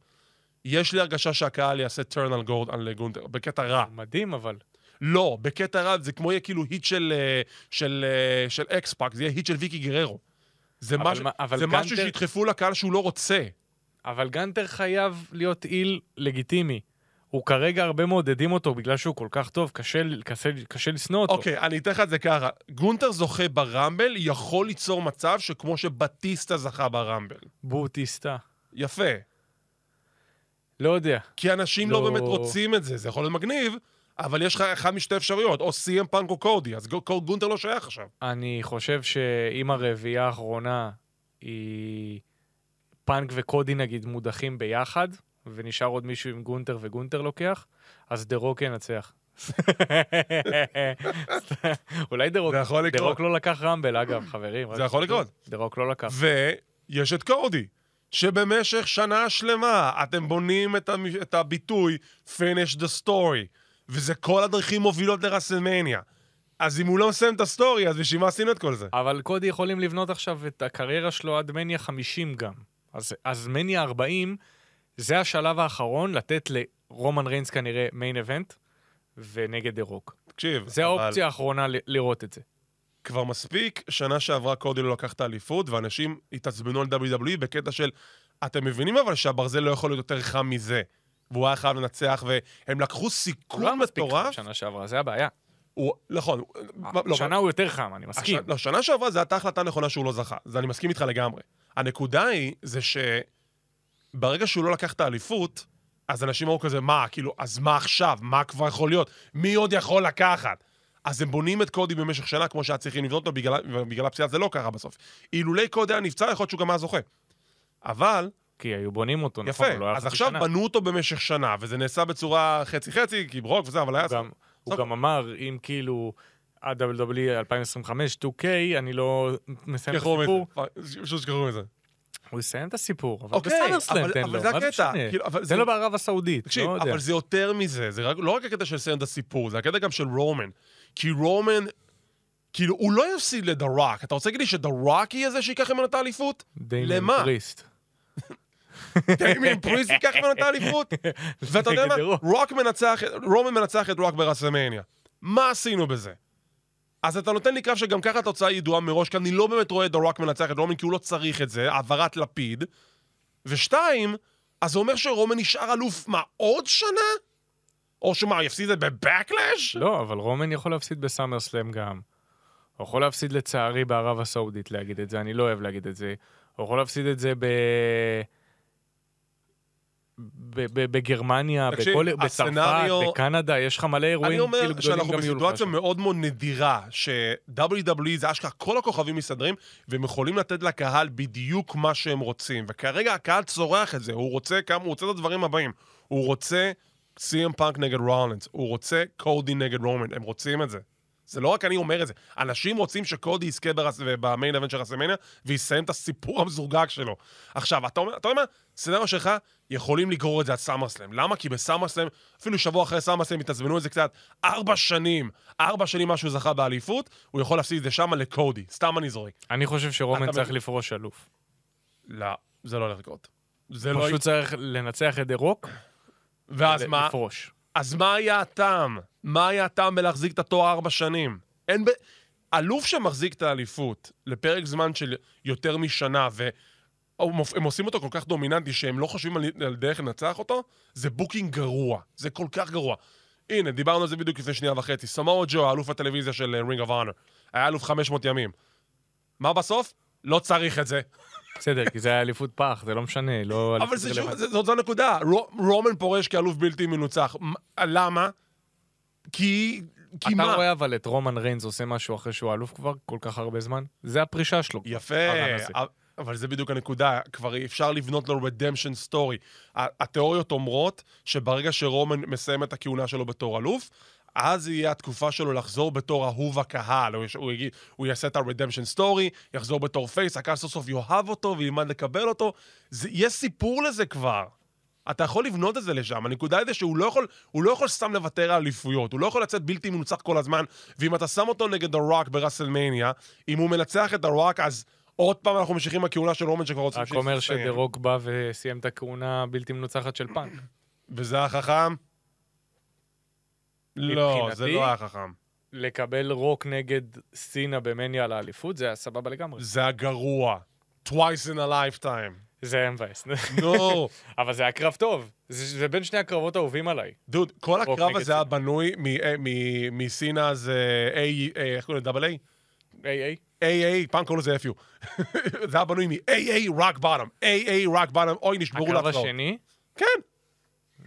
Speaker 3: יש לי הרגשה שהקהל יעשה turn על, גורד, על גונטר, בקטע רע.
Speaker 4: מדהים, אבל.
Speaker 3: לא, בקטע רע, זה כמו יהיה כאילו היט של, אה, של, אה, של אקספאק, זה יהיה היט של ויקי גררו. זה,
Speaker 4: אבל
Speaker 3: משהו,
Speaker 4: מה- אבל
Speaker 3: זה משהו
Speaker 4: גנטר-
Speaker 3: שידחפו לקהל שהוא לא רוצה.
Speaker 4: אבל גנטר חייב להיות איל לגיטימי. הוא כרגע הרבה מעודדים אותו בגלל שהוא כל כך טוב, קשה, קשה, קשה לשנוא אותו.
Speaker 3: אוקיי, אני אתן לך את זה ככה. גונטר זוכה ברמבל, יכול ליצור מצב שכמו שבטיסטה זכה ברמבל.
Speaker 4: בוטיסטה.
Speaker 3: יפה.
Speaker 4: לא יודע.
Speaker 3: כי אנשים לא,
Speaker 4: לא.
Speaker 3: באמת רוצים את זה, זה יכול להיות מגניב, אבל יש לך אחת משתי אפשרויות, או סי.אם פאנק או קודי, אז גו- קור- גונטר לא שייך עכשיו.
Speaker 4: אני חושב שאם הרביעייה האחרונה היא פאנק וקודי נגיד מודחים ביחד, ונשאר עוד מישהו עם גונטר וגונטר לוקח, אז דה רוק ינצח. (laughs) אולי דה רוק,
Speaker 3: זה יכול
Speaker 4: דה
Speaker 3: לקרות.
Speaker 4: רוק לא לקח רמבל אגב, חברים.
Speaker 3: זה יכול לקרות.
Speaker 4: דה רוק לא לקח.
Speaker 3: ויש את קודי, שבמשך שנה שלמה אתם בונים את, המ... את הביטוי finish the story, וזה כל הדרכים מובילות לרסלמניה. אז אם הוא לא מסיים את הסטורי, אז בשביל מה עשינו את כל זה?
Speaker 4: אבל קודי יכולים לבנות עכשיו את הקריירה שלו עד מניה 50 גם. אז, אז מניה 40, זה השלב האחרון לתת לרומן ריינס כנראה מיין אבנט, ונגד דה רוק.
Speaker 3: תקשיב,
Speaker 4: זה
Speaker 3: אבל-
Speaker 4: האופציה האחרונה ל- לראות את זה.
Speaker 3: כבר מספיק, שנה שעברה קודי לא לקח את האליפות, ואנשים התעצבנו על WWE בקטע של, אתם מבינים אבל שהברזל לא יכול להיות יותר חם מזה. והוא היה חייב לנצח, והם לקחו
Speaker 4: לא היה
Speaker 3: סיכון
Speaker 4: מספיק חם
Speaker 3: מטורף.
Speaker 4: שנה שעברה, זה הבעיה.
Speaker 3: הוא, נכון, הוא- לא,
Speaker 4: שנה הוא יותר חם, אני מסכים.
Speaker 3: הש- לא, שנה שעברה זו הייתה החלטה נכונה שהוא לא זכה. אז אני מסכים איתך לגמרי. הנקודה היא, זה שברגע שהוא לא לקח את האליפות, אז אנשים אמרו כזה, מה, כאילו, אז מה עכשיו? מה כבר יכול להיות? מי עוד יכול לקחת? אז הם בונים את קודי במשך שנה, כמו שהיה צריכים לבנות לו, בגלל, בגלל הפציעה זה לא קרה בסוף. אילולי קודי היה נפצע, יכול להיות שהוא גם היה זוכה. אבל,
Speaker 4: כי היו בונים אותו, נכון,
Speaker 3: יפה,
Speaker 4: הוא לא היה
Speaker 3: אז
Speaker 4: חצי
Speaker 3: עכשיו
Speaker 4: שנה.
Speaker 3: בנו אותו במשך שנה, וזה נעשה בצורה חצי-חצי, כי ברוק וזה, אבל היה...
Speaker 4: הוא גם- הוא
Speaker 3: בסדר.
Speaker 4: גם אמר, אם כאילו... E ה-WWE 2025, 2K, אני לא מסיים את
Speaker 3: שכחו מזה,
Speaker 4: הסיפור.
Speaker 3: פשוט שכחו מזה.
Speaker 4: הוא יסיים את הסיפור, אבל
Speaker 3: אוקיי,
Speaker 4: בסאמרסלאם
Speaker 3: אבל-
Speaker 4: תן
Speaker 3: אבל
Speaker 4: לו,
Speaker 3: זה
Speaker 4: מה זה
Speaker 3: הקטע,
Speaker 4: משנה?
Speaker 3: כאילו, אבל זה-
Speaker 4: תן לו בערב הסעודית,
Speaker 3: תקשיב,
Speaker 4: לא יודע.
Speaker 3: אבל זה יותר מזה, זה רק, לא רק הקטע של לסיים את הסיפור, זה הקטע גם של רומן. כי רומן, כאילו, הוא לא יפסיד לדה רוק. אתה רוצה להגיד לי שדה רוק יהיה זה שייקח ממנו את האליפות?
Speaker 4: דמיין
Speaker 3: למה?
Speaker 4: פריסט.
Speaker 3: דמיין פריס ייקח ממנו את האליפות? ואתה יודע מה?
Speaker 4: נגד רוק.
Speaker 3: רוק מנצח, רומן מנצח את רוק ברסלמניה. מה עשינו בזה? אז אתה נותן לי קרב שגם ככה התוצאה ידועה מראש, כי אני לא באמת רואה את דה רוק מנצח את רומן, כי הוא לא צריך את זה, העברת לפיד. ושתיים, אז זה אומר שרומן נשאר אלוף, מה, עוד שנה? או שמה, הוא יפסיד את זה בבקלאש?
Speaker 4: לא, אבל רומן יכול להפסיד בסאמרסלאם גם. הוא יכול להפסיד לצערי בערב הסעודית להגיד את זה, אני לא אוהב להגיד את זה. הוא יכול להפסיד את זה ב... ב- ב- בגרמניה,
Speaker 3: תקשיב,
Speaker 4: בכל... בצרפת,
Speaker 3: הסצנריו-
Speaker 4: בקנדה, יש לך מלא
Speaker 3: אני
Speaker 4: אירועים כאילו
Speaker 3: אומר
Speaker 4: גדולים
Speaker 3: שאנחנו
Speaker 4: גם יהיו לך
Speaker 3: בסיטואציה
Speaker 4: שם.
Speaker 3: מאוד מאוד נדירה, ש-WWE זה אשכרה כל הכוכבים מסתדרים, והם יכולים לתת לקהל בדיוק מה שהם רוצים. וכרגע הקהל צורח את זה, הוא רוצה כמה, הוא רוצה את הדברים הבאים. הוא רוצה סי.אם פאנק נגד רולינס, הוא רוצה קודי נגד רומן, הם רוצים את זה. זה לא רק אני אומר את זה, אנשים רוצים שקודי יזכה ברס- במיין אבן של רסמניה ויסיים את הסיפור המזורגג שלו. עכשיו, אתה אומר, אתה אומר מה? סצנריו שלך, יכולים לגרור את זה עד סאמרסלאם. למה? כי בסאמרסלאם, אפילו שבוע אחרי סאמרסלאם התעצבנו על זה קצת, ארבע שנים, ארבע שנים משהו זכה באליפות, הוא יכול להפסיד את זה שמה לקודי, סתם אני זורק.
Speaker 4: אני חושב
Speaker 3: אתה
Speaker 4: שרומן צריך
Speaker 3: מבין?
Speaker 4: לפרוש אלוף.
Speaker 3: לא, זה לא הולך לקרות. זה לא...
Speaker 4: פשוט צריך לנצח את דה רוק,
Speaker 3: ואז
Speaker 4: ל-
Speaker 3: מה?
Speaker 4: לפרוש.
Speaker 3: אז מה היה הטעם? מה היה הטעם בלהחזיק את התואר ארבע שנים? אין ב... אלוף שמחזיק את האליפות לפרק זמן של יותר משנה, הם הם עושים אותו כל כך דומיננטי שהם לא חושבים על, על דרך לנצח אותו, זה בוקינג גרוע. זה כל כך גרוע. הנה, דיברנו על זה בדיוק לפני שנייה וחצי. סמואל ג'ו, אלוף הטלוויזיה של אה, רינג אוף אונר, היה אלוף 500 ימים. מה בסוף? לא צריך את זה.
Speaker 4: בסדר, כי זה היה אליפות פח, זה לא משנה, לא...
Speaker 3: אבל
Speaker 4: אליפות
Speaker 3: זה שוב,
Speaker 4: רלוונטית.
Speaker 3: זה- זאת הנקודה. רו- רומן פורש כאלוף בלתי מנוצח. מ- למה? כי... כי
Speaker 4: אתה
Speaker 3: מה?
Speaker 4: רואה אבל את רומן ריינס עושה משהו אחרי שהוא אלוף כבר כל כך הרבה זמן? זה הפרישה שלו. כבר,
Speaker 3: יפה,
Speaker 4: הרן הזה.
Speaker 3: אבל- אבל זה בדיוק הנקודה, כבר אי אפשר לבנות לו רדמפשן סטורי. התיאוריות אומרות שברגע שרומן מסיים את הכהונה שלו בתור אלוף, אז יהיה התקופה שלו לחזור בתור אהוב הקהל. הוא, יש- הוא, יגיד, הוא יעשה את הרדמפשן סטורי, יחזור בתור פייס, הקהל סוף סוף יאהב אותו וילמד לקבל אותו. זה, יש סיפור לזה כבר. אתה יכול לבנות את זה לשם. הנקודה היא זה שהוא לא יכול, הוא לא יכול סתם לוותר על אליפויות. הוא לא יכול לצאת בלתי מנוצח כל הזמן, ואם אתה שם אותו נגד הרוק בראסלמניה, אם הוא מנצח את הרוק, אז עוד פעם אנחנו ממשיכים לכהונה של רומן שכבר רוצים
Speaker 4: רק אומר
Speaker 3: שתסתיים.
Speaker 4: שדה רוק בא וסיים את הכהונה הבלתי מנוצחת של פאנק.
Speaker 3: וזה היה חכם? לא, זה
Speaker 4: מבחינתי-
Speaker 3: לא היה חכם.
Speaker 4: לקבל רוק נגד סינה במניה על האליפות, זה היה סבבה לגמרי.
Speaker 3: זה היה גרוע. twice in a lifetime.
Speaker 4: זה היה מבאס.
Speaker 3: נו.
Speaker 4: (laughs) אבל זה היה קרב טוב. זה זה בין שני הקרבות האהובים עליי.
Speaker 3: דוד, כל
Speaker 4: רוק
Speaker 3: הקרב
Speaker 4: נגד
Speaker 3: הזה היה
Speaker 4: סינה.
Speaker 3: בנוי מ- אה, מ- מסינה זה A, אה, איך קוראים לזה? דאבל איי?
Speaker 4: היי, היי.
Speaker 3: AA, פעם קראו לזה FU. (laughs) זה היה בנוי מ-AA rock bottom, AA rock bottom, אוי, נשברו
Speaker 4: הקרב
Speaker 3: להפרעות.
Speaker 4: השני,
Speaker 3: כן,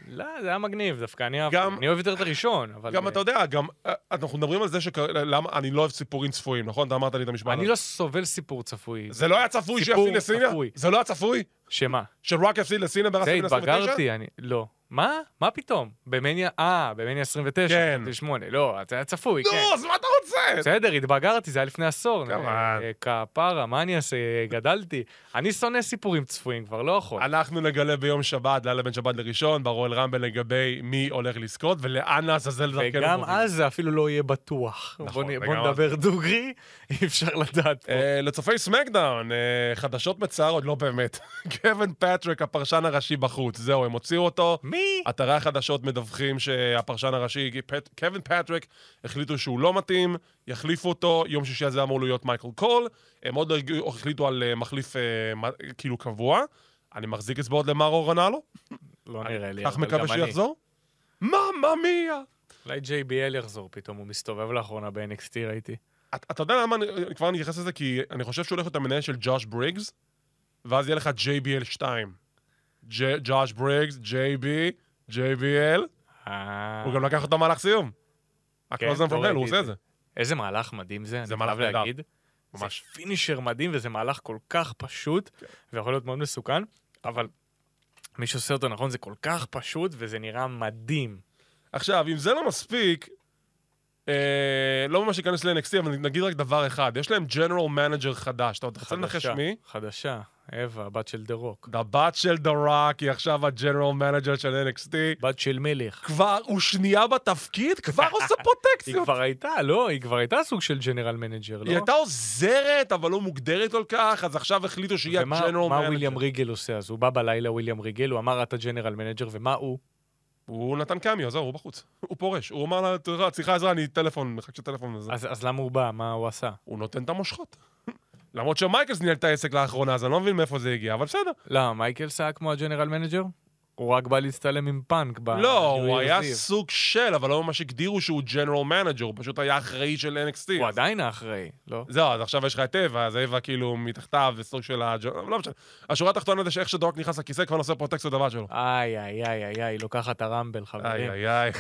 Speaker 4: לא, זה היה מגניב דווקא, אני אהבתי.
Speaker 3: גם-
Speaker 4: אני אוהב יותר את הראשון, אבל...
Speaker 3: גם אתה יודע, גם אה, אנחנו מדברים על זה שכר- למה אני לא אוהב סיפורים צפויים, נכון? אתה אמרת לי את המשפט
Speaker 4: אני
Speaker 3: הזה.
Speaker 4: לא סובל סיפור צפוי.
Speaker 3: זה לא היה צפוי
Speaker 4: סיפור
Speaker 3: שיפסיד לסינה?
Speaker 4: צפוי.
Speaker 3: זה לא היה צפוי?
Speaker 4: שמה?
Speaker 3: שרק יפסיד לסינה
Speaker 4: זה
Speaker 3: ברסלמניה 29?
Speaker 4: התבגרתי, אני... לא. מה? מה פתאום? במניה... אה, במניה 29.
Speaker 3: כן.
Speaker 4: 28. לא, זה היה צפוי, כן.
Speaker 3: נו, אז מה אתה רוצה?
Speaker 4: בסדר, התבגרתי, זה היה לפני עשור.
Speaker 3: גם
Speaker 4: אה, אה, כפרה, מה אני אעשה? אה, גדלתי. אני שונא סיפורים צפויים, כבר לא יכול.
Speaker 3: אנחנו נגלה ביום שבת, לילה בין שבת לראשון, ברואל רמבל לגבי מי הולך לזכות ולאן לעזאזל דרכנו.
Speaker 4: וגם
Speaker 3: מוביל.
Speaker 4: אז זה אפילו לא יהיה בטוח.
Speaker 3: נכון,
Speaker 4: בוא נ- בוא
Speaker 3: וגם אז-
Speaker 4: נדבר דוגרי, (laughs) אי אפשר לדעת. פה.
Speaker 3: אה, לצופי סמקדאון, אה, חדשות מצערות, לא באמת. (laughs) קווין פטריק, הפרשן הראשי בחוץ. זהו, הם הוציאו אותו.
Speaker 4: מי?
Speaker 3: אתרי החדשות מדווחים שהפרשן הראשי, פט- קווין פטריק, החליטו שהוא לא מתאים, יחליפו אותו, יום שישי הזה אמור להיות מייקל קול, הם עוד לא הגיעו- החליטו על אה, מחליף אה, מ- כאילו קבוע. אני מחזיק אצבעות למארו רונלו,
Speaker 4: לא נראה לי,
Speaker 3: אה, כך
Speaker 4: אבל
Speaker 3: מקווה
Speaker 4: גם אני.
Speaker 3: שיחזור. מאמא מיה!
Speaker 4: אולי JBL יחזור פתאום, הוא מסתובב לאחרונה ב-NXT, ראיתי.
Speaker 3: אתה אתה יודע למה, אני- כבר אני אתייחס לזה, כי אני חושב שהוא הולך להיות המנהל של ג'וש בריגס, ואז יהיה לך JBL 2. ג'- ג'וש בריגס, JB, JBL,
Speaker 4: אה,
Speaker 3: הוא גם לקח אותו מהלך סיום. הקלוזן
Speaker 4: לא
Speaker 3: פרמל, הוא
Speaker 4: ראיתי
Speaker 3: עושה
Speaker 4: את
Speaker 3: את זה.
Speaker 4: איזה מהלך מדהים זה,
Speaker 3: זה
Speaker 4: אני
Speaker 3: מהלך
Speaker 4: חייב
Speaker 3: נהדר.
Speaker 4: להגיד.
Speaker 3: ממש. כן.
Speaker 4: זה פינישר מדהים, וזה מהלך כל כך פשוט, ויכול להיות מאוד מסוכן, אבל מי שעושה אותו נכון זה כל כך פשוט, וזה נראה מדהים.
Speaker 3: עכשיו, אם זה לא מספיק, אה, לא ממש ניכנס ל-NXT, אבל נגיד רק דבר אחד, יש להם ג'נרל מנג'ר חדש, אתה עוד רוצה לנחש
Speaker 4: חדשה,
Speaker 3: מי?
Speaker 4: חדשה, אווה, הבת של דה רוק.
Speaker 3: הבת של דה ראק היא עכשיו הג'נרל מנג'ר של NXT.
Speaker 4: בת של מלך.
Speaker 3: כבר, הוא שנייה בתפקיד, כבר עושה
Speaker 4: (laughs) היא
Speaker 3: פרוטקציות.
Speaker 4: כבר הייתה, לא, היא כבר הייתה סוג של ג'נרל מנג'ר, לא?
Speaker 3: היא הייתה עוזרת, אבל לא מוגדרת כל כך, אז עכשיו החליטו שהיא
Speaker 4: ומה-
Speaker 3: הג'נרל מנג'ר.
Speaker 4: מה וויליאם ריגל עושה אז? הוא בא בלילה, וויליאם ריגל, הוא אמר, אתה ג'נרל מנג'ר, ומה הוא?
Speaker 3: הוא נתן קמיו, זהו, הוא בחוץ. הוא פורש. הוא אמר לה, "תראה, צריכה עזרה, אני טלפון, מחכה שטלפון וזה.
Speaker 4: אז אז למה הוא בא? מה הוא עשה?
Speaker 3: הוא נותן את המושכות. (laughs) למרות שמייקלס ניהל את העסק לאחרונה, אז אני לא מבין מאיפה זה הגיע, אבל בסדר.
Speaker 4: למה, מייקלס היה לא, כמו הג'נרל מנג'ר? הוא רק בא להצטלם עם פאנק ב...
Speaker 3: לא,
Speaker 4: New
Speaker 3: הוא
Speaker 4: Year's
Speaker 3: היה
Speaker 4: Eve.
Speaker 3: סוג של, אבל לא ממש הגדירו שהוא ג'נרל מנג'ר, הוא פשוט היה אחראי של NXT.
Speaker 4: הוא עדיין האחראי, לא?
Speaker 3: זהו, אז עכשיו יש לך את אווה, אז אווה כאילו מתחתיו, וסוג של ה... לא משנה. השורה התחתונה זה שאיך שדורק נכנס לכיסא, כבר נעשה פרוטקציות דבר שלו.
Speaker 4: איי, איי, איי, איי, איי, לוקחת הרמבל, חברים.
Speaker 3: איי איי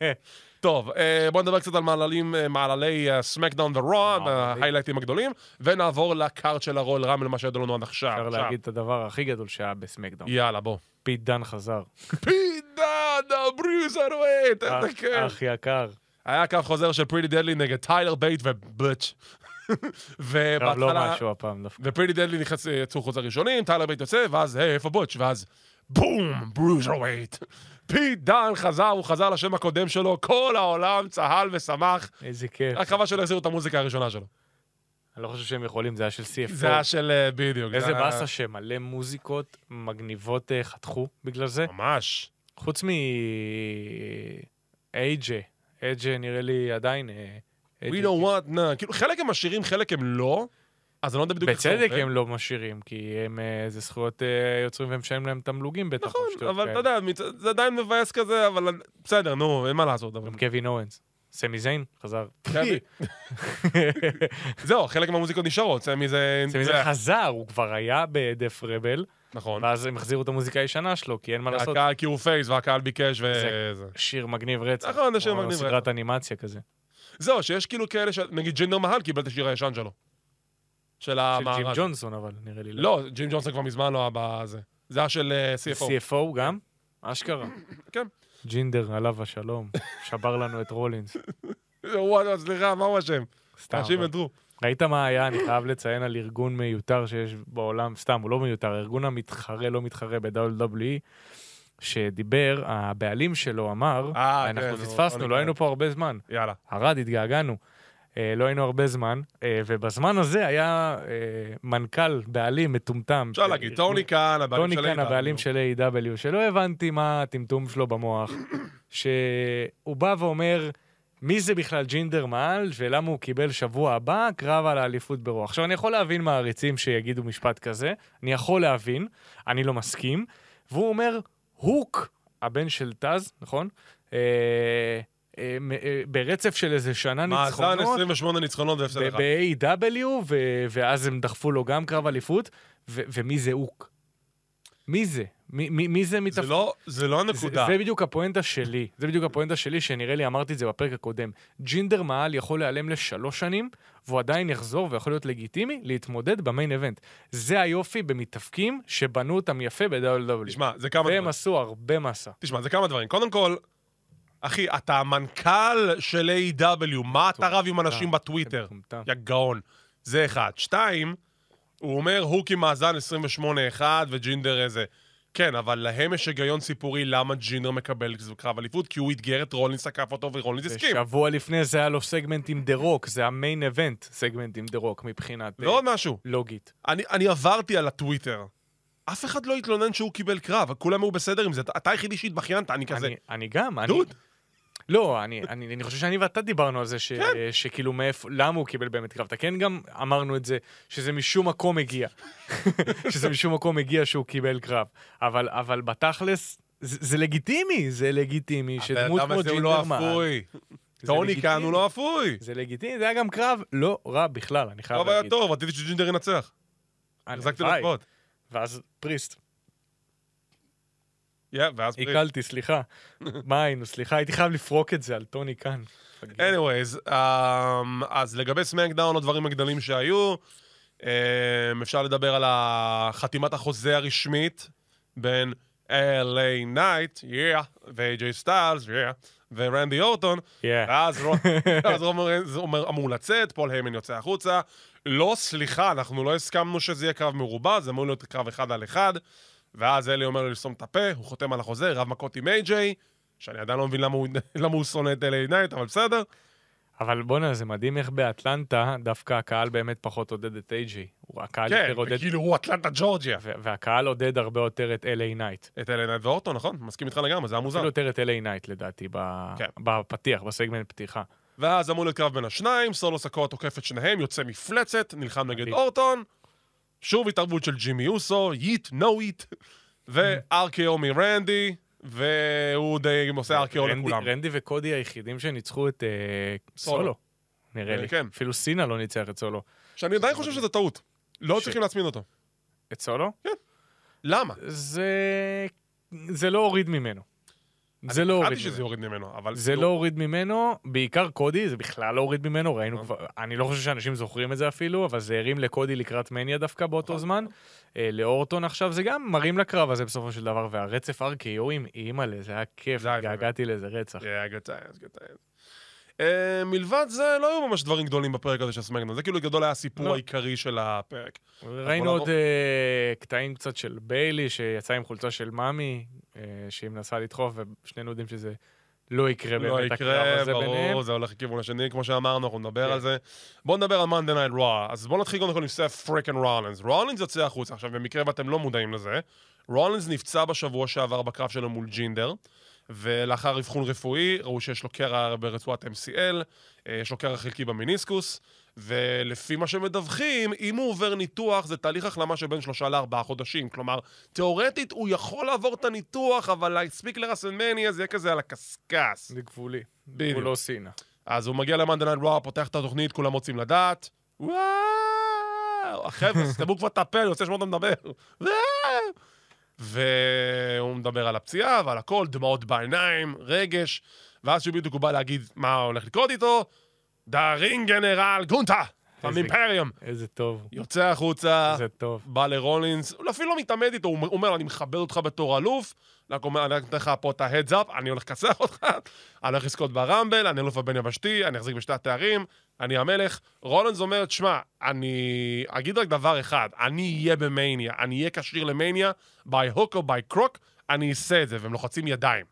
Speaker 3: איי. (laughs) טוב, אה, בואו נדבר קצת על מעללים, אה, מעללי סמקדאון
Speaker 4: אה,
Speaker 3: ורוע,
Speaker 4: מעללים.
Speaker 3: ההיילייטים הגדולים, ונעבור לקארט של הרול רמל, מה שידוע לנו עד עכשיו.
Speaker 4: אפשר
Speaker 3: עכשיו.
Speaker 4: להגיד את הדבר הכי גדול שהיה בסמקדאום.
Speaker 3: יאללה, בוא.
Speaker 4: פיט דן חזר.
Speaker 3: פידאדה ברוזרווייט,
Speaker 4: אח-
Speaker 3: איזה כיף.
Speaker 4: אח יקר.
Speaker 3: היה קו חוזר של פריטי דדלי נגד טיילר בייט (laughs) ובאץ'.
Speaker 4: קרב לא
Speaker 3: ובהתחלה...
Speaker 4: משהו הפעם דווקא.
Speaker 3: ופריטי דדלי נכנס, אה, יצאו חוץ הראשונים, טיילר בייט יוצא, ואז, היי, איפה בוטש? ואז, בום, ברוזרווייט. פיט דן חזר, הוא חזר לשם הקודם שלו, כל העולם צהל ושמח.
Speaker 4: איזה כיף.
Speaker 3: רק חבל שלא החזירו את המוזיקה הראשונה שלו.
Speaker 4: אני לא חושב שהם יכולים, זה היה של CFO.
Speaker 3: זה היה של אה, בדיוק.
Speaker 4: איזה
Speaker 3: זה היה-
Speaker 4: באסה שמלא מוזיקות מגניבות אה, חתכו בגלל זה.
Speaker 3: ממש.
Speaker 4: חוץ מ... אייג'ה. אייג'ה נראה לי עדיין... אה,
Speaker 3: We
Speaker 4: AJ.
Speaker 3: don't want, nah. כאילו, חלק הם משאירים, חלק הם לא. אז אני לא יודע בדיוק זה
Speaker 4: בצדק
Speaker 3: עובד.
Speaker 4: הם לא משאירים, כי הם, אה, זה זכויות אה, יוצרים והם משלמים להם תמלוגים בטח.
Speaker 3: נכון,
Speaker 4: או שטויות
Speaker 3: אבל אתה
Speaker 4: כאלה.
Speaker 3: יודע, מצ- זה עדיין מבאס כזה, אבל אני- בסדר, נו, אין מה לעשות. אבל-
Speaker 4: גם קווין אורנס. סמי זיין, חזר. (laughs)
Speaker 3: קווי. (laughs) זהו, חלק מהמוזיקות נשארות, סמי זה...
Speaker 4: סמי
Speaker 3: זה-
Speaker 4: זיין חזר, הוא כבר היה בדף רבל,
Speaker 3: נכון.
Speaker 4: ואז הם החזירו את המוזיקה הישנה שלו, כי אין מה לעשות.
Speaker 3: הקהל כי הוא פייס והקהל ביקש
Speaker 4: זה-
Speaker 3: וזה.
Speaker 4: שיר מגניב רצח.
Speaker 3: נכון, זה שיר
Speaker 4: כמו
Speaker 3: מגניב
Speaker 4: סדרת אנימציה כזה.
Speaker 3: זהו, שיש כאילו כאלה, ש- נגיד ג'ינדר מהל קיבל את השיר הישן שלו. של
Speaker 4: של ג'ים
Speaker 3: המארז.
Speaker 4: ג'ונסון, אבל נראה לי.
Speaker 3: אה, לא, ג'ים ג'ונסון כבר מזמן לא היה בזה. זה היה של אה, CFO.
Speaker 4: CFO גם? אשכרה.
Speaker 3: כן.
Speaker 4: ג'ינדר, עליו השלום, שבר לנו את רולינס.
Speaker 3: וואלה, סליחה, מה הוא אשם?
Speaker 4: סתם.
Speaker 3: אנשים
Speaker 4: אבל-
Speaker 3: ידרו.
Speaker 4: ראית מה היה, אני חייב לציין על ארגון מיותר שיש בעולם, סתם, הוא לא מיותר, ארגון המתחרה, לא מתחרה ב-WWE, שדיבר, הבעלים שלו אמר,
Speaker 3: אה, כן, נו,
Speaker 4: אנחנו פספסנו,
Speaker 3: לא
Speaker 4: לא היינו
Speaker 3: ניכנס.
Speaker 4: פה הרבה זמן.
Speaker 3: יאללה.
Speaker 4: ערד, התגעגענו. אה, לא היינו הרבה זמן, אה, ובזמן הזה היה אה, מנכ"ל, בעלים מטומטם.
Speaker 3: אפשר להגיד, טוני כאן, הבעלים
Speaker 4: אה, טוני
Speaker 3: של
Speaker 4: כאן,
Speaker 3: איתן.
Speaker 4: לא הבעלים של A.W, שלא הבנתי מה הטמטום שלו במוח, שהוא בא ואומר, מי זה בכלל ג'ינדר מעל, ולמה הוא קיבל שבוע הבא קרב על האליפות ברוח. עכשיו, אני יכול להבין מעריצים שיגידו משפט כזה, אני יכול להבין, אני לא מסכים, והוא אומר, הוק, הבן של טז, נכון? אה, אה, מ- אה, ברצף של איזה שנה
Speaker 3: מאזן
Speaker 4: ניצחונות,
Speaker 3: 28 ניצחונות והפסד אחד.
Speaker 4: ב-AW, E ו- ואז הם דחפו לו גם קרב אליפות, ו- ומי זה אוק? מי זה? מי, מי, מי זה
Speaker 3: זה
Speaker 4: מתפקיד?
Speaker 3: לא- זה לא הנקודה.
Speaker 4: זה בדיוק הפואנטה שלי, זה בדיוק הפואנטה שלי, שנראה לי אמרתי את זה בפרק הקודם. ג'ינדר מעל יכול להיעלם לשלוש שנים, והוא עדיין יחזור ויכול להיות לגיטימי להתמודד במיין איבנט. זה היופי במתאפקים שבנו אותם יפה ב-WW.
Speaker 3: תשמע, זה כמה דברים.
Speaker 4: והם עשו הרבה מסה.
Speaker 3: תשמע, זה כמה דברים. קודם כל, אחי, אתה המנכ"ל של A.W, מה אתה רב עם אנשים בטוויטר?
Speaker 4: מטומטם.
Speaker 3: יא גאון. זה אחד. שתיים, הוא אומר, הוק עם מאזן 28-1 וג'ינדר איזה. כן, אבל להם יש היגיון סיפורי למה ג'ינדר מקבל קרב אליפות, כי הוא אתגר את רולינס, עקף אותו ורולינס הסכים.
Speaker 4: ושבוע לפני זה היה לו סגמנט עם דה רוק, זה המיין איבנט סגמנט עם דה רוק מבחינת אה,
Speaker 3: ועוד משהו,
Speaker 4: לוגית.
Speaker 3: אני, אני עברתי על הטוויטר. אף אחד לא התלונן שהוא קיבל קרב, כולם היו בסדר עם זה. אתה- אתה היחידי שהתבכיינת, אני כזה...
Speaker 4: אני, אני גם, אני...
Speaker 3: דוד.
Speaker 4: לא, אני, אני, אני חושב שאני ואתה דיברנו על זה, ש,
Speaker 3: כן.
Speaker 4: שכאילו מאיפה, למה הוא קיבל באמת קרב. אתה כן גם אמרנו את זה, שזה משום מקום הגיע. (laughs) שזה משום מקום הגיע שהוא קיבל קרב. אבל, אבל בתכלס, זה, זה לגיטימי, זה לגיטימי שדמות
Speaker 3: הבן אדם
Speaker 4: כמו
Speaker 3: הזה הוא לא
Speaker 4: ג'ינדר מעל.
Speaker 3: אפוי.
Speaker 4: זה
Speaker 3: טוני
Speaker 4: לגיטימי.
Speaker 3: כאן הוא לא אפוי.
Speaker 4: זה לגיטימי, זה היה גם קרב לא רע בכלל, אני חייב
Speaker 3: קרב היה
Speaker 4: להגיד.
Speaker 3: לא טוב, רציתי שג'ינדר ינצח.
Speaker 4: אני-
Speaker 3: החזקתי לו
Speaker 4: וואי,
Speaker 3: אצבעות.
Speaker 4: ואז פריסט.
Speaker 3: יא, ואז פריט.
Speaker 4: עיכלתי, סליחה. מה היינו, סליחה, הייתי חייב לפרוק את זה על טוני כאן.
Speaker 3: anyways, um, אז לגבי סמקדאון, הדברים הגדולים שהיו, um, אפשר לדבר על חתימת החוזה הרשמית בין LA נייט, יא, ו-AJ סטיילס, יא, ורנדי אורטון,
Speaker 4: Yeah.
Speaker 3: ואז רו- ואז רומא ריינס אומר- אמור לצאת, פול היימן יוצא החוצה. לא, סליחה, אנחנו לא הסכמנו שזה יהיה קרב מרובע, זה אמור להיות קרב אחד על אחד. ואז אלי אומר לו לסתום את הפה, הוא חותם על החוזה, רב מכות עם איי-ג'יי, שאני עדיין לא מבין למה הוא, (laughs) למה הוא שונא את אלי נייט, אבל בסדר.
Speaker 4: אבל בואנה, זה מדהים איך באטלנטה דווקא הקהל באמת פחות עודד את אייג'י. הוא- הקהל
Speaker 3: כן,
Speaker 4: יותר עודד,
Speaker 3: כאילו הוא אטלנטה ג'ורג'יה.
Speaker 4: ו- והקהל עודד הרבה יותר את LA נייט.
Speaker 3: את אלי נייט ואורטון, נכון? מסכים איתך לגמרי, זה היה מוזר.
Speaker 4: אפילו יותר את LA נייט לדעתי, ב-
Speaker 3: כן.
Speaker 4: בפתיח, בסגמנט פתיחה.
Speaker 3: ואז אמור להיות קרב בין השניים, סולו סקואה תוקף את שניהם, יוצא מפלצת, נלחם נגד
Speaker 4: מדהים.
Speaker 3: אורטון, שוב התערבות של ג'ימי אוסו, יט, נו יט, ו-RKO מרנדי, והוא די עושה RKO
Speaker 4: רנדי-
Speaker 3: לכולם.
Speaker 4: רנדי וקודי היחידים שניצחו את אה,
Speaker 3: סולו.
Speaker 4: סולו, נראה לי.
Speaker 3: כן.
Speaker 4: אפילו סינה לא ניצח את סולו.
Speaker 3: שאני עדיין חושב שזה טעות, לא
Speaker 4: ש-
Speaker 3: צריכים להצמין אותו.
Speaker 4: את סולו?
Speaker 3: כן. למה?
Speaker 4: זה... זה לא הוריד ממנו. זה לא
Speaker 3: חשבתי
Speaker 4: הוריד
Speaker 3: שזה
Speaker 4: ממנו.
Speaker 3: יוריד ממנו, אבל...
Speaker 4: זה לא הוריד ממנו, בעיקר קודי, זה בכלל לא הוריד ממנו, ראינו
Speaker 3: נכון.
Speaker 4: כבר, אני לא חושב שאנשים זוכרים את זה אפילו, אבל זה הרים לקודי לקראת מניה דווקא
Speaker 3: נכון.
Speaker 4: באותו זמן. אה, לאורטון עכשיו, זה גם מרים לקרב הזה בסופו של דבר, והרצף RKOים, אימא'לה, זה היה כיף,
Speaker 3: זה היה
Speaker 4: התגעגעתי לזה רצח.
Speaker 3: Yeah, good times, good times. אה, מלבד זה, לא היו ממש דברים גדולים בפרק הזה של סמקדון, זה כאילו גדול היה הסיפור
Speaker 4: לא.
Speaker 3: העיקרי של הפרק.
Speaker 4: ראינו
Speaker 3: נעבור-
Speaker 4: עוד אה, קטעים קצת של ביילי, שיצא עם חולצה של מאמי, אה, שהיא מנסה לדחוף, ושנינו יודעים שזה לא יקרה
Speaker 3: לא
Speaker 4: באמת, הקרב
Speaker 3: יקרה,
Speaker 4: הזה ביניהם.
Speaker 3: ברור, זה הולך לכיוון השני, כמו שאמרנו, אנחנו נדבר
Speaker 4: כן.
Speaker 3: על זה. בואו נדבר על Monday Night Raw. אז בואו נתחיל קודם כל עם סף פריקן רולינס. רולינס יוצא החוצה, עכשיו, במקרה ואתם לא מודעים לזה, רולינס נפצע בשבוע שעבר בקרב שלו מול ג'ינדר, ולאחר אבחון רפואי, ראו שיש לו קרע ברצועת MCL, אה, יש לו קרע חלקי במיניסקוס, ולפי מה שמדווחים, אם הוא עובר ניתוח, זה תהליך החלמה שבין שלושה לארבעה חודשים. כלומר, תיאורטית הוא יכול לעבור את הניתוח, אבל להספיק לרסלמניה זה יהיה כזה על הקשקש.
Speaker 4: זה גבולי.
Speaker 3: בדיוק.
Speaker 4: הוא לא סינה.
Speaker 3: אז הוא מגיע למאנדלנד וואו, פותח את התוכנית, כולם רוצים לדעת. וואו, החבר'ה, סתמו כבר את הפה, אני רוצה לשמוע אותם מדבר. וואו. והוא מדבר על הפציעה ועל הכל, דמעות בעיניים, רגש, ואז שבדיוק הוא בא להגיד מה הולך לקרות איתו, דה רינגנרל גונטה,
Speaker 4: איזה-
Speaker 3: פמיפריום.
Speaker 4: איזה טוב.
Speaker 3: יוצא החוצה,
Speaker 4: איזה טוב.
Speaker 3: בא לרולינס, הוא אפילו לא מתעמד איתו, הוא אומר, אני מכבד אותך בתור אלוף, רק אומר, אני רק נותן לך פה את ההדס אפ, אני הולך לכסח אותך, (laughs) אני הולך לזכות ברמבל, אני אלוף הבן יבשתי, אני אחזיק בשתי התארים, אני המלך. רולינס אומר, תשמע, אני אגיד רק דבר אחד, אני אהיה במאניה, אני אהיה כשיר למאניה, by hook או by crook, אני אעשה את זה, והם לוחצים ידיים.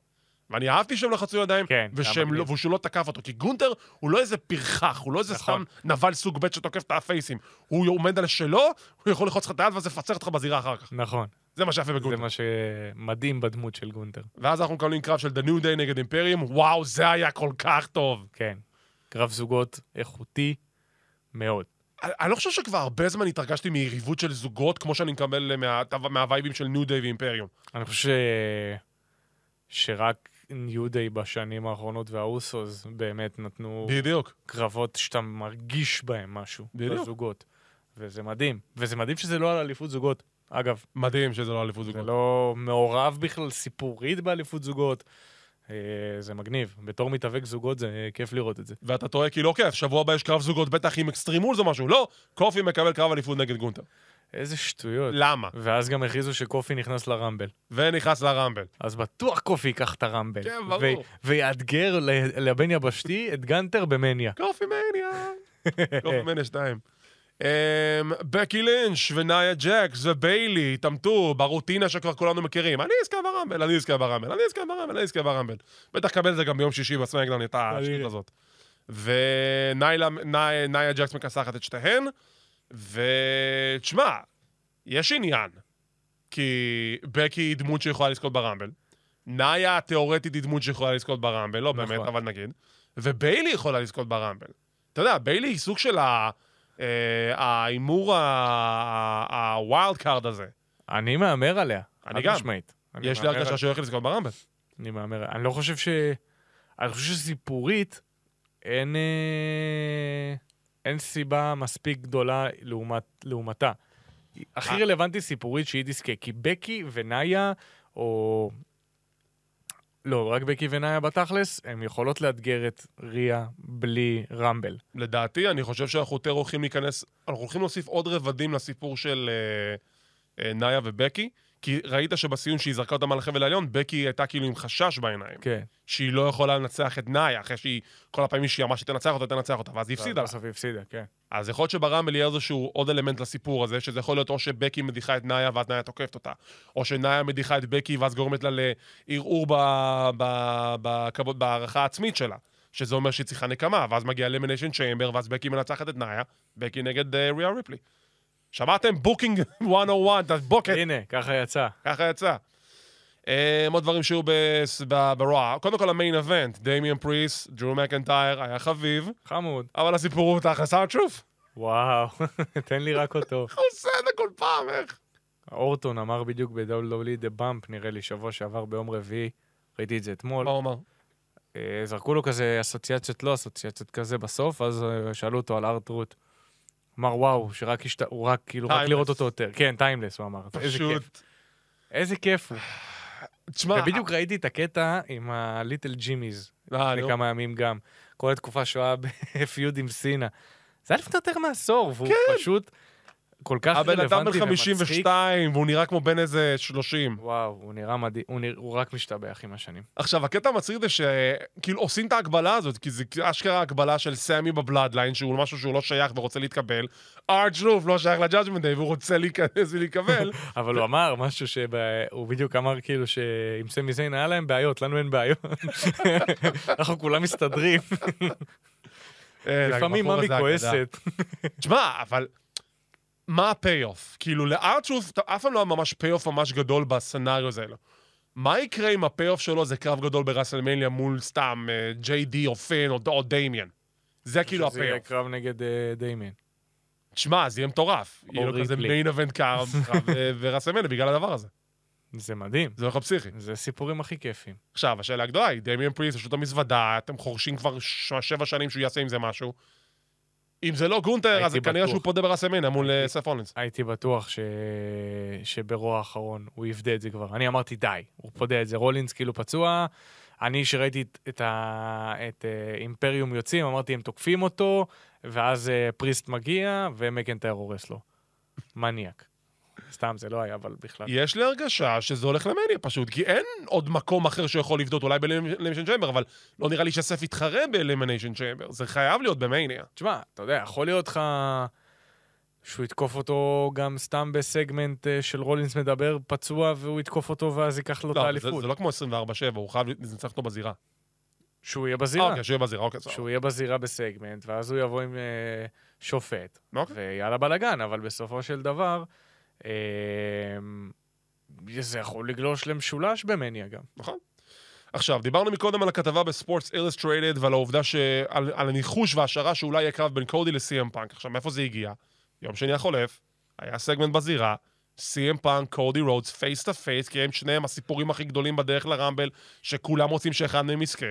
Speaker 3: ואני אהבתי שהם לחצו ידיים,
Speaker 4: כן, היה
Speaker 3: ושהם
Speaker 4: מגניב.
Speaker 3: לא, ושהוא לא תקף אותו, כי גונטר הוא לא איזה פרחח, הוא לא איזה
Speaker 4: נכון.
Speaker 3: סתם נבל סוג ב' שתוקף את הפייסים. הוא עומד על שלו, הוא יכול ללחוץ לך את היד ואז לפצח אותך בזירה אחר כך.
Speaker 4: נכון.
Speaker 3: זה מה שיפה
Speaker 4: זה
Speaker 3: בגונטר.
Speaker 4: מה שמדהים בדמות של גונטר.
Speaker 3: ואז אנחנו מקבלים קרב של The New Day נגד אימפריום, וואו, זה היה כל כך טוב.
Speaker 4: כן. קרב זוגות איכותי מאוד.
Speaker 3: אני- אני לא חושב שכבר הרבה זמן התרגשתי מיריבות של זוגות, כמו שאני מקבל אה, מה- מהווייבים של New Day ואימפריום.
Speaker 4: אני חושב ש... שרק ניו דיי בשנים האחרונות והאוסוס באמת נתנו
Speaker 3: בדיוק.
Speaker 4: קרבות שאתה מרגיש בהם משהו.
Speaker 3: בדיוק.
Speaker 4: בזוגות. וזה מדהים. וזה מדהים שזה לא על אליפות זוגות. אגב,
Speaker 3: מדהים שזה לא אליפות
Speaker 4: זה
Speaker 3: זוגות.
Speaker 4: לא מעורב בכלל סיפורית באליפות זוגות. אה, זה מגניב. בתור מתאבק זוגות זה כיף לראות את זה.
Speaker 3: ואתה טועה כי לא כיף, שבוע הבא יש קרב זוגות בטח עם אקסטרימולס או משהו. לא, קופי מקבל קרב אליפות נגד גונטר.
Speaker 4: איזה שטויות.
Speaker 3: למה?
Speaker 4: ואז גם הכריזו שקופי נכנס לרמבל.
Speaker 3: ונכנס לרמבל.
Speaker 4: אז בטוח קופי ייקח את הרמבל.
Speaker 3: כן, ברור.
Speaker 4: ו- ויאתגר ל- לבן יבשתי את גנטר במניה.
Speaker 3: קופי מניה. קופי מניה שתיים. אמ, בקי לינץ' ונאיה ג'קס וביילי התעמתו ברוטינה שכבר כולנו מכירים. אני אזכה ברמבל, אני אזכה ברמבל, אני אזכה ברמבל, אני אזכה ברמבל. בטח קבל את זה גם ביום שישי בסמאקדאון, את השטות
Speaker 4: אדיר.
Speaker 3: הזאת. ונאיה ג'קס מכסחת את שתיהן, ותשמע, יש עניין. כי בקי היא דמות שיכולה לזכות ברמבל. נאיה תיאורטית היא דמות שיכולה לזכות ברמבל, לא
Speaker 4: נכון.
Speaker 3: באמת, אבל נגיד. וביילי יכולה לזכות ברמבל. אתה יודע, ביילי היא סוג של ה- אה, ההימור הווילד קארד הזה.
Speaker 4: אני מהמר עליה.
Speaker 3: אני
Speaker 4: חד
Speaker 3: גם.
Speaker 4: משמעית. אני
Speaker 3: יש לי
Speaker 4: מהמר
Speaker 3: הרגשה
Speaker 4: על-
Speaker 3: שהוא הולך לזכות ברמבל.
Speaker 4: אני מהמר. אני לא חושב ש... אני חושב שסיפורית אין... אה, אין סיבה מספיק גדולה לעומת, לעומתה. הכי
Speaker 3: אה.
Speaker 4: רלוונטי סיפורית שהיא תזכה, כי בקי ונאיה, או... לא, רק בקי ונאיה בתכלס, הן יכולות לאתגר את ריה בלי רמבל.
Speaker 3: לדעתי, אני חושב שאנחנו יותר הולכים להיכנס, אנחנו הולכים להוסיף עוד רבדים לסיפור של אה, אה, נאיה ובקי, כי ראית שבסיום שהיא זרקה אותם על החבל העליון, בקי הייתה כאילו עם חשש בעיניים.
Speaker 4: כן.
Speaker 3: שהיא לא יכולה לנצח את נאיה, אחרי שהיא, כל הפעמים שהיא אמרה שתנצח אותה, תנצח אותה, ואז היא הפסידה. לה.
Speaker 4: בסוף היא הפסידה, כן.
Speaker 3: אז יכול להיות שברמבל יהיה איזשהו עוד אלמנט לסיפור הזה, שזה יכול להיות או שבקי מדיחה את נאיה ואז נאיה תוקפת אותה, או שנאיה מדיחה את בקי ואז גורמת לה לערעור ב- ב- בכבוד- בהערכה העצמית שלה, שזה אומר שהיא צריכה נקמה, ואז מגיע למיניישן צ'יימבר, ואז בקי מנצחת את נאיה, בקי נגד אה, ריה ריפלי. שמעתם? בוקינג (laughs) 101, תבוקט.
Speaker 4: הנה, ככה יצא.
Speaker 3: ככה יצא. אה, עוד דברים שהיו בס- ב- ברוע. קודם כל המיין אבנט, דמיאן פריס, ג'רו מקנטייר, היה חביב,
Speaker 4: חמוד.
Speaker 3: אבל הסיפור הוא תכלס הארטרוף.
Speaker 4: וואו, (laughs) תן לי רק אותו.
Speaker 3: הוא עושה את זה כל פעם, איך?
Speaker 4: אורטון אמר בדיוק ב-WWE The Bump, נראה לי, שבוע שעבר ביום רביעי, ראיתי את זה אתמול.
Speaker 3: מה הוא אמר?
Speaker 4: אה, זרקו לו כזה אסוציאציות, לא אסוציאציות כזה בסוף, אז אה, שאלו אותו על ארטרוט. אמר, וואו, שרק השת... הוא רק, כאילו, רק
Speaker 3: Timeless.
Speaker 4: לראות אותו יותר. כן, טיימלס, הוא אמר. איזה כיף.
Speaker 3: פשוט.
Speaker 4: איזה כיף הוא.
Speaker 3: תשמע,
Speaker 4: ובדיוק ראיתי את הקטע עם הליטל ג'ימיז,
Speaker 3: אה, נו.
Speaker 4: לפני כמה ימים גם. כל התקופה שהוא היה בפיוד עם סינה. זה היה לפני יותר מעשור, והוא פשוט כל כך
Speaker 3: כן. הבן
Speaker 4: רלוונטי
Speaker 3: אדם בן
Speaker 4: ומצחיק.
Speaker 3: 52, והוא נראה כמו בן איזה 30.
Speaker 4: וואו, הוא נראה מדהים, הוא, נרא... הוא רק משתבח עם השנים.
Speaker 3: עכשיו, הקטע המצחיק זה שכאילו עושים את ההגבלה הזאת, כי זה אשכרה הגבלה של סמי בבלאדליין, שהוא משהו שהוא לא שייך ורוצה להתקבל. ארג' לוף לא שייך לג'אג'מנט דיי, והוא רוצה להיכנס ולהיקבל.
Speaker 4: אבל הוא אמר משהו שהוא בדיוק אמר כאילו שעם סמי זיין היה להם בעיות, לנו
Speaker 3: (laughs)
Speaker 4: אין בעיות. אנחנו כולם מסתדרים.
Speaker 3: אה,
Speaker 4: (laughs) לפעמים
Speaker 3: הבחור
Speaker 4: ממי
Speaker 3: הזה אגדה.
Speaker 4: כועסת.
Speaker 3: תשמע, אבל מה הפי-אוף? כאילו, לארטרוס אף פעם לא היה ממש פי-אוף ממש גדול בסצנריו הזה. לא. מה יקרה אה, אם הפי-אוף שלו זה קרב גדול בראסלמניה מול סתם ג'יי די או פן או, או דמיאן? זה כאילו
Speaker 4: שזה יהיה
Speaker 3: הפייאוף.
Speaker 4: קרב נגד אה, דיימין.
Speaker 3: תשמע, זה יהיה מטורף.
Speaker 4: או
Speaker 3: יהיה לו כזה
Speaker 4: ריפלי.
Speaker 3: מיין אבנט קארם
Speaker 4: (laughs)
Speaker 3: ורסמלה אה, בגלל הדבר הזה.
Speaker 4: זה מדהים.
Speaker 3: זה הולך לפסיכי.
Speaker 4: זה סיפורים הכי כיפים.
Speaker 3: עכשיו, השאלה הגדולה היא, דמיאן פריסט, פשוט המזוודה, אתם חורשים כבר ש- שבע שנים שהוא יעשה עם זה משהו. אם זה לא גונטר,
Speaker 4: הייתי
Speaker 3: אז זה כנראה
Speaker 4: בטוח.
Speaker 3: שהוא פודה ברסמנה מול אה, סף רולינס.
Speaker 4: הייתי בטוח ש... שברוע האחרון הוא יפדה את זה כבר. אני אמרתי, די, הוא פודה את זה. רולינס כאילו פצוע. אני, שראיתי את, את, ה... את אה, אימפריום יוצאים, אמרתי, הם תוקפים אותו, ואז אה, פריסט מגיע, ומקנטייר הורס לו. מניאק. סתם, זה לא היה, אבל בכלל.
Speaker 3: יש לי הרגשה שזה הולך למניה פשוט, כי אין עוד מקום אחר שיכול לבדות, אולי באלימיניישן צ'יימבר, אבל לא נראה לי שסף יתחרה באלימיניישן צ'יימבר, זה חייב להיות במניה.
Speaker 4: תשמע, אתה יודע, יכול להיות לך שהוא יתקוף אותו גם סתם בסגמנט אה, של רולינס מדבר פצוע, והוא יתקוף אותו ואז ייקח לו את
Speaker 3: לא, אבל זה-
Speaker 4: האליפות.
Speaker 3: זה לא כמו 24-7, הוא חייב לנצח אותו בזירה.
Speaker 4: שהוא יהיה
Speaker 3: אה,
Speaker 4: בזירה.
Speaker 3: אוקיי, שיהיה בזירה, אוקיי, סבבה.
Speaker 4: שהוא יהיה בזירה בסגמנט, ואז הוא יבוא עם אה, שופט,
Speaker 3: אוקיי.
Speaker 4: ויאללה בלאגן, אבל בסופו של דבר, אה, זה יכול לגלוש למשולש במניה גם.
Speaker 3: עכשיו, דיברנו מקודם על הכתבה בספורטס אילוסטרייטד ועל העובדה ש... על, על הניחוש והשערה שאולי יהיה קרב בין קודי לסי.אם פאנק. עכשיו, מאיפה זה הגיע? יום שני החולף, היה סגמנט בזירה, סי.אם פאנק, קודי רודס, פייס טו פייס, כי הם שניהם הסיפורים הכי גדולים בדרך לרמבל, שכולם רוצים שאחד מהם יזכה.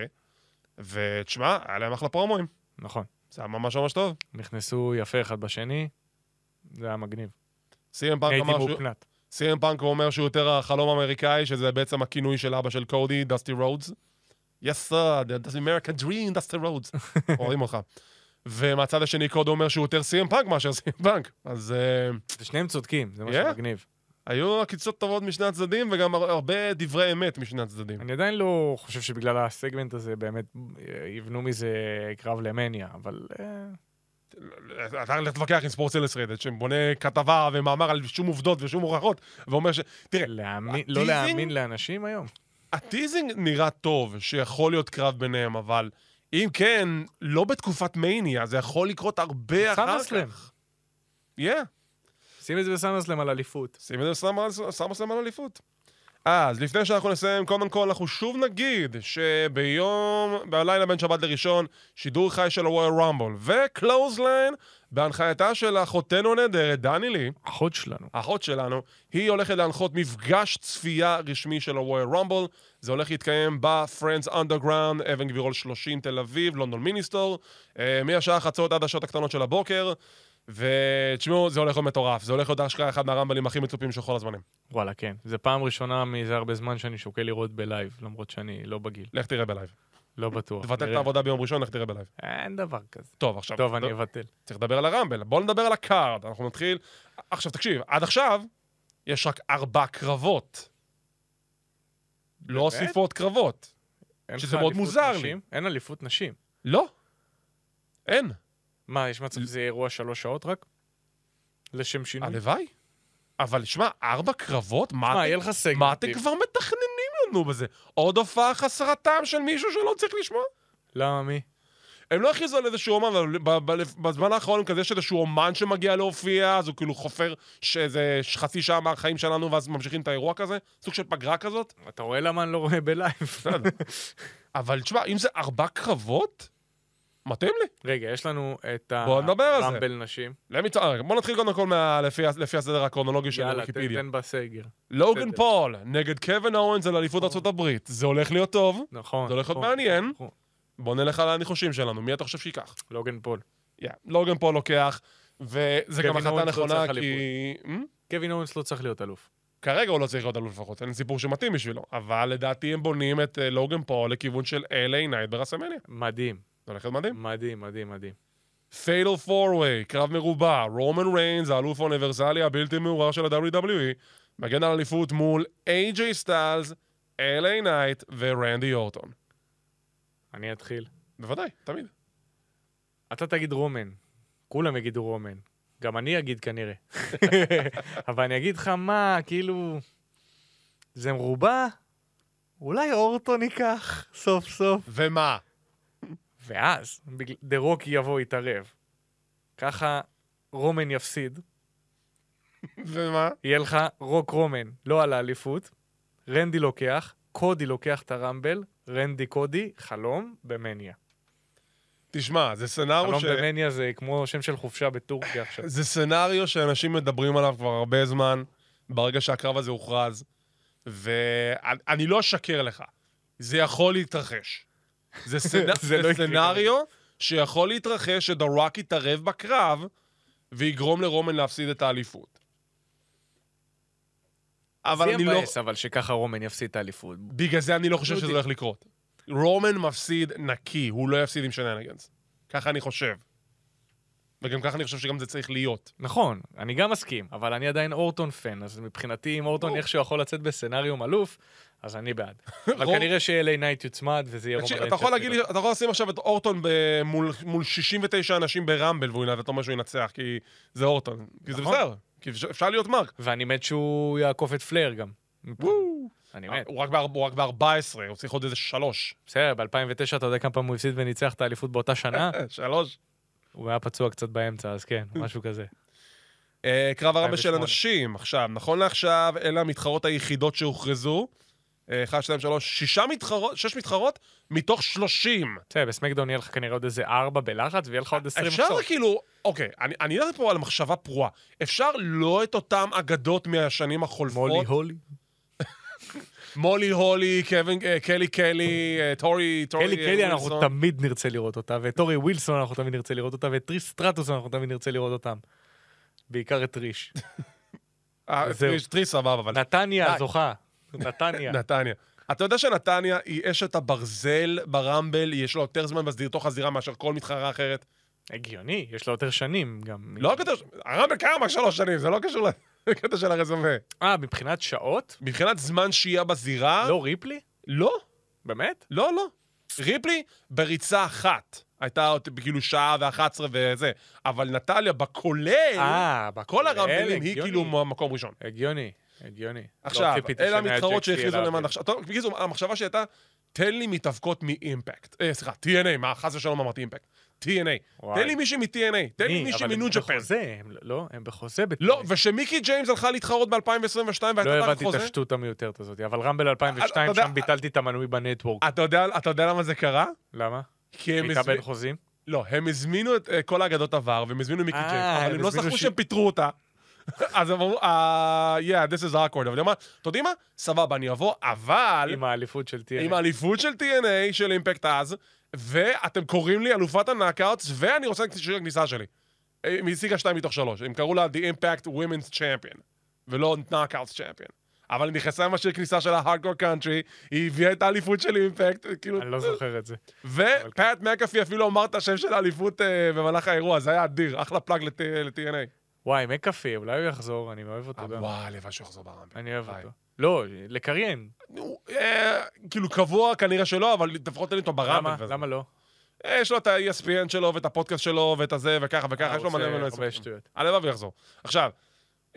Speaker 3: ותשמע, היה להם אחלה פרומואים.
Speaker 4: נכון.
Speaker 3: זה היה ממש ממש טוב.
Speaker 4: נכנסו יפה אחד בשני, זה היה מגניב.
Speaker 3: סי.אם
Speaker 4: אני
Speaker 3: פאנק
Speaker 4: הייתי
Speaker 3: אמר שהוא...
Speaker 4: מוקנט.
Speaker 3: סי.אם פאנק אומר שהוא יותר החלום האמריקאי, שזה בעצם הכינוי של אבא של קודי, דסטי רודס. Yes, sir, that's America dream, דסטי רודס. (laughs) אוהבים אותך. ומהצד השני קודי אומר שהוא יותר סי.אם פאנק מאשר סי.אם פאנק. אז אה,
Speaker 4: שניהם צודקים, זה מה
Speaker 3: Yeah.
Speaker 4: שמגניב.
Speaker 3: היו עקיצות טובות משני הצדדים, וגם הר- הרבה דברי אמת משני הצדדים.
Speaker 4: אני עדיין לא חושב שבגלל הסגמנט הזה באמת אה, יבנו מזה קרב למניה, אבל אה,
Speaker 3: אתה הולך להתווכח עם ספורט סלסרדד, שבונה כתבה ומאמר על שום עובדות ושום הוכחות, ואומר ש... תראה,
Speaker 4: להאמין- לא
Speaker 3: הטיזינג-
Speaker 4: להאמין לאנשים היום.
Speaker 3: הטיזינג נראה טוב, שיכול להיות קרב ביניהם, אבל אם כן, לא בתקופת מניה, זה יכול לקרות הרבה אחר
Speaker 4: סאמרסלאם.
Speaker 3: כך. כן.
Speaker 4: שים את זה בסאמרסלאם על אליפות.
Speaker 3: שים את זה בסאמר- סאמרסלאם על אליפות. אז לפני שאנחנו נסיים, קודם כל אנחנו שוב נגיד שביום, בלילה בין שבת לראשון, שידור חי של הוויר רמבול וקלוזליין, בהנחייתה של אחותנו הנהדרת, דני לי,
Speaker 4: אחות שלנו.
Speaker 3: האחות שלנו, היא הולכת להנחות מפגש צפייה רשמי של הוויר רמבל. זה הולך להתקיים ב-Friends Underground, אבן גבירול 30 תל אביב, לונדון מיניסטור, אה, מהשעה חצות עד השעות הקטנות של הבוקר. ותשמעו, זה הולך להיות מטורף. זה הולך להיות אשכרה אחד מהרמבלים הכי מצופים של כל הזמנים.
Speaker 4: וואלה, כן. זה פעם ראשונה מזה הרבה זמן שאני שוקל לראות בלייב, למרות שאני לא בגיל.
Speaker 3: לך תראה בלייב.
Speaker 4: לא בטוח.
Speaker 3: תבטל את
Speaker 4: נראה.
Speaker 3: העבודה ביום ראשון, לך תראה בלייב.
Speaker 4: אין דבר כזה.
Speaker 3: טוב, עכשיו.
Speaker 4: טוב, אני אבטל.
Speaker 3: צריך לדבר על הרמבל. בואו נדבר על הקארד. אנחנו נתחיל... עכשיו, תקשיב, עד עכשיו יש רק ארבע קרבות. לא
Speaker 4: באמת?
Speaker 3: הוסיפו עוד קרבות.
Speaker 4: אין
Speaker 3: שזה
Speaker 4: לך
Speaker 3: מאוד
Speaker 4: אליפות
Speaker 3: מוזר לי.
Speaker 4: נשים? אין אליפות נשים.
Speaker 3: לא. אין.
Speaker 4: מה, יש מצב שזה יהיה אירוע שלוש שעות רק? לשם שינוי?
Speaker 3: הלוואי. אבל שמע, ארבע קרבות? מה,
Speaker 4: מה,
Speaker 3: אתם-
Speaker 4: יהיה לך כאילו. סגמנטים.
Speaker 3: מה אתם כבר מתכננים לנו בזה? עוד הופעה חסרת טעם של מישהו שלא צריך לשמוע?
Speaker 4: למה, מי?
Speaker 3: הם לא הכריזו על איזשהו אומן, אבל ב- ב- בזמן האחרון כזה יש איזשהו אומן שמגיע להופיע, אז הוא כאילו חופר שאיזה חצי שעה מהחיים שלנו, ואז ממשיכים את האירוע כזה, סוג של פגרה כזאת.
Speaker 4: אתה רואה למה אני לא רואה בלייב?
Speaker 3: בסדר. אבל תשמע, אם זה ארבע קרבות, מתאים לי.
Speaker 4: (laughs) רגע, יש לנו את
Speaker 3: בוא נדבר על זה.
Speaker 4: הרמבל נשים.
Speaker 3: למי צ- אה, בוא נתחיל קודם כל מה- לפי ה- לפי הסדר הקרונולוגי של
Speaker 4: יאללה,
Speaker 3: ויקיפדיה.
Speaker 4: תן תן בסגר.
Speaker 3: לוגן
Speaker 4: בסדר. אה.
Speaker 3: פול נגד קווין אורנס על אליפות ארה"ב. זה הולך להיות טוב.
Speaker 4: נכון.
Speaker 3: זה הולך להיות
Speaker 4: נכון,
Speaker 3: מעניין.
Speaker 4: נכון.
Speaker 3: בוא נלך על הניחושים שלנו, מי אתה חושב שייקח?
Speaker 4: לוגן פול.
Speaker 3: יא, לוגן פול לוקח, וזה גם
Speaker 4: קווין
Speaker 3: החלטה
Speaker 4: אורנס לא
Speaker 3: נכונה
Speaker 4: צריך
Speaker 3: כי... Hmm?
Speaker 4: קווין אורנס לא צריך להיות אלוף.
Speaker 3: כרגע הוא לא צריך להיות אלוף לפחות, אין סיפור שמתאים בשבילו. אבל לדעתי הם בונים את אה, לוגן פול לכיוון של LA נייט ברסמניה.
Speaker 4: מדהים.
Speaker 3: זה הולך להיות מדהים.
Speaker 4: מדהים, מדהים, מדהים.
Speaker 3: פיידל פורווי, קרב מרובע, רומן ריינס, האלוף האוניברסלי הבלתי מעורער של ה-WWE, מגן על אליפות מול איי-ג'יי סטאלס, LA נייט ורנדי אורטון.
Speaker 4: אני אתחיל.
Speaker 3: בוודאי, תמיד.
Speaker 4: אתה תגיד רומן, כולם יגידו רומן. גם אני אגיד כנראה. אבל אני אגיד לך מה, כאילו... זה מרובע? אולי אורטון ייקח סוף סוף?
Speaker 3: ומה?
Speaker 4: ואז בגל- דה רוק יבוא, יתערב. ככה רומן יפסיד.
Speaker 3: ומה?
Speaker 4: יהיה לך רוק רומן, לא על האליפות. רנדי לוקח, קודי לוקח את הרמבל, רנדי קודי, חלום, במניה.
Speaker 3: תשמע, זה סנארו
Speaker 4: חלום
Speaker 3: ש...
Speaker 4: דמניה זה כמו שם של חופשה בטורקיה עכשיו.
Speaker 3: זה סצנריו שאנשים מדברים עליו כבר הרבה זמן, ברגע שהקרב הזה הוכרז, ואני לא אשקר לך, זה יכול להתרחש.
Speaker 4: (laughs)
Speaker 3: זה, סנ...
Speaker 4: זה
Speaker 3: זה,
Speaker 4: לא יקרה.
Speaker 3: סצנריו שיכול להתרחש שדראק יתערב בקרב ויגרום לרומן להפסיד את האליפות. אבל
Speaker 4: זה
Speaker 3: אני לא...
Speaker 4: מבאס, אבל שככה רומן יפסיד את האליפות.
Speaker 3: בגלל זה אני לא חושב שזה
Speaker 4: דודי.
Speaker 3: הולך לקרות. רומן מפסיד נקי, הוא לא יפסיד עם שננגנס. ככה אני חושב. וגם ככה אני חושב שגם זה צריך להיות.
Speaker 4: נכון, אני גם מסכים, אבל אני עדיין אורטון פן, אז מבחינתי, אם אורטון איכשהו יכול לצאת בסצנריו מאלוף, אז
Speaker 3: (laughs)
Speaker 4: אני בעד. אבל
Speaker 3: רוב-
Speaker 4: כנראה ש-LA נייט יוצמד, וזה יהיה רומן
Speaker 3: תקשיב,
Speaker 4: ריינס
Speaker 3: אתה יכול
Speaker 4: שיפסיד
Speaker 3: להגיד לי, אתה יכול לשים עכשיו את אורטון ב- מול- מול 69 אנשים ברמבל, והוא ינ- ואתה אומר שהוא ינצח, כי זה אורטון. כי זה
Speaker 4: נכון.
Speaker 3: בסדר, כי אפשר- אפשר להיות מרק.
Speaker 4: ואני מת שהוא יעקוף את פלר גם. אני מת.
Speaker 3: הוא רק באר- הוא רק ב-14, הוא צריך עוד איזה שלוש.
Speaker 4: בסדר, ב-2009 אתה יודע כמה פעמים הוא הפסיד וניצח את האליפות באותה
Speaker 3: (laughs)
Speaker 4: שנה?
Speaker 3: אה, שלוש.
Speaker 4: הוא היה פצוע קצת באמצע, אז כן, משהו כזה.
Speaker 3: אה, קרב הרמבל של
Speaker 4: 2008.
Speaker 3: הנשים, עכשיו, נכון לעכשיו, אלה המתחרות היחידות שהוכרזו. אה, אחד, שתיים, שלוש, שישה מתחרות, שש מתחרות, מתוך שלושים.
Speaker 4: בסדר, בסמקדאון יהיה לך כנראה עוד איזה ארבע בלחץ, ויהיה לך עוד עשרים
Speaker 3: אה, אפשר
Speaker 4: בסוף.
Speaker 3: כאילו, אוקיי, אני- אני אלך פה על מחשבה פרועה. אפשר לא את אותן אגדות מהשנים החולפות.
Speaker 4: מולי הולי.
Speaker 3: מולי הולי, קווין, אה, קלי קלי, אה, טורי, טורי,
Speaker 4: אלי
Speaker 3: אה,
Speaker 4: קלי אנחנו
Speaker 3: ווילסון.
Speaker 4: תמיד נרצה לראות אותה, ואת טורי ווילסון אנחנו תמיד נרצה לראות אותה, ואת טריס סטרטוס אנחנו תמיד נרצה לראות אותם. בעיקר את
Speaker 3: (laughs)
Speaker 4: טריש.
Speaker 3: אה,
Speaker 4: זהו.
Speaker 3: טריס- טריס סבבה, אבל
Speaker 4: נתניה
Speaker 3: די.
Speaker 4: הזוכה. נתניה.
Speaker 3: נתניה. אתה יודע שנתניה היא אשת הברזל ברמבל, יש לה יותר זמן בסדיר תוך הזירה מאשר כל מתחרה אחרת.
Speaker 4: הגיוני, יש לה יותר שנים גם.
Speaker 3: לא הקטע, ש- הרמבל קיים רק שלוש שנים, זה לא קשור (laughs) לקטע של הרזומה.
Speaker 4: אה, מבחינת שעות?
Speaker 3: מבחינת זמן שהייה בזירה,
Speaker 4: לא ריפלי?
Speaker 3: לא,
Speaker 4: באמת?
Speaker 3: לא, לא. ריפלי בריצה אחת. הייתה עוד כאילו שעה ואחת עשרה וזה. אבל נטליה בכולל,
Speaker 4: אה, בכל
Speaker 3: כל הרמבלים
Speaker 4: הגיוני.
Speaker 3: היא
Speaker 4: לא,
Speaker 3: כאילו מקום ראשון.
Speaker 4: הגיוני, הגיוני.
Speaker 3: עכשיו,
Speaker 4: לא ציפיתי
Speaker 3: אלה
Speaker 4: שמאל
Speaker 3: המתחרות
Speaker 4: ג'קס יהיה
Speaker 3: שהכריזו
Speaker 4: לה
Speaker 3: למען
Speaker 4: הרבה.
Speaker 3: עכשיו. טוב, בקיצור, המחשבה שהייתה, תן לי מתאבקות מאימפקט. אה, סליחה, TNA, מה, חס ושלום אמרתי אימפקט. TNA.
Speaker 4: וואי.
Speaker 3: תן לי מישהי מ-TNA, תן לי מישהי
Speaker 4: מי? אבל נכון. הם
Speaker 3: מניו ג'פן.
Speaker 4: בחוזה, הם לא, הם בחוזה. בטח.
Speaker 3: לא, ושמיקי ג'יימס הלכה להתחרות ב-2022
Speaker 4: לא
Speaker 3: והייתה תחת
Speaker 4: הבנתי את
Speaker 3: חוזה.
Speaker 4: השטות המיותרת הזאת, אבל רמבל 2002,
Speaker 3: אה, אתה יודע-
Speaker 4: שם ביטלתי את המנוי בנטוורק.
Speaker 3: אתה יודע- אתה יודע למה זה קרה?
Speaker 4: למה?
Speaker 3: כי הם
Speaker 4: הייתה בין
Speaker 3: הזמינו...
Speaker 4: חוזים?
Speaker 3: לא, הם הזמינו את אה, כל האגדות עבר, והם הזמינו מיקי
Speaker 4: אה,
Speaker 3: ג'יימס, אבל
Speaker 4: הם
Speaker 3: הם לא
Speaker 4: הזמינו
Speaker 3: סחרו
Speaker 4: ש-
Speaker 3: שהם פיטרו אותה. (laughs) אז הם אמרו, אה, yeah, this is awkward. אבל היא אמרה, אתם יודעים מה? סבבה, אני אבוא, אבל...
Speaker 4: עם האליפות של TNA.
Speaker 3: אה? עם האליפות של TNA, של אימפקט אז, ואתם קוראים לי אלופת הנאקאוטס, ואני רוצה את שיר הכניסה שלי. אה, היא השיגה שתיים מתוך שלוש. הם קראו לה The Impact Women's Champion, ולא Knockouts Champion. אבל היא נכנסה עם השיר כניסה שלה, Hardcore Country, היא הביאה את האליפות של אימפקט, כאילו...
Speaker 4: אני לא זוכר את זה.
Speaker 3: ופאט מקאפי אפילו אמר את השם של האליפות אה, במהלך האירוע, זה היה אדיר, אחלה פלאג לת- ל-TNA.
Speaker 4: וואי, מקאפי, אולי הוא יחזור, אני אוהב אותו גם.
Speaker 3: וואי, הלוואי שהוא יחזור ברמבל.
Speaker 4: אני אוהב
Speaker 3: וואי.
Speaker 4: אותו. לא, לקריין.
Speaker 3: נו, אה, כאילו קבוע כנראה שלא, אבל לפחות תן לי אותו ברמבל.
Speaker 4: למה?
Speaker 3: וזה.
Speaker 4: למה לא?
Speaker 3: אה, יש לו את ה-ESPN שלו, ואת הפודקאסט שלו, ואת הזה, וככה וככה,
Speaker 4: אה,
Speaker 3: יש לו מלא
Speaker 4: עושה
Speaker 3: מלא
Speaker 4: הרבה
Speaker 3: עיסוקים.
Speaker 4: שטויות.
Speaker 3: הלוואי ויחזור. עכשיו,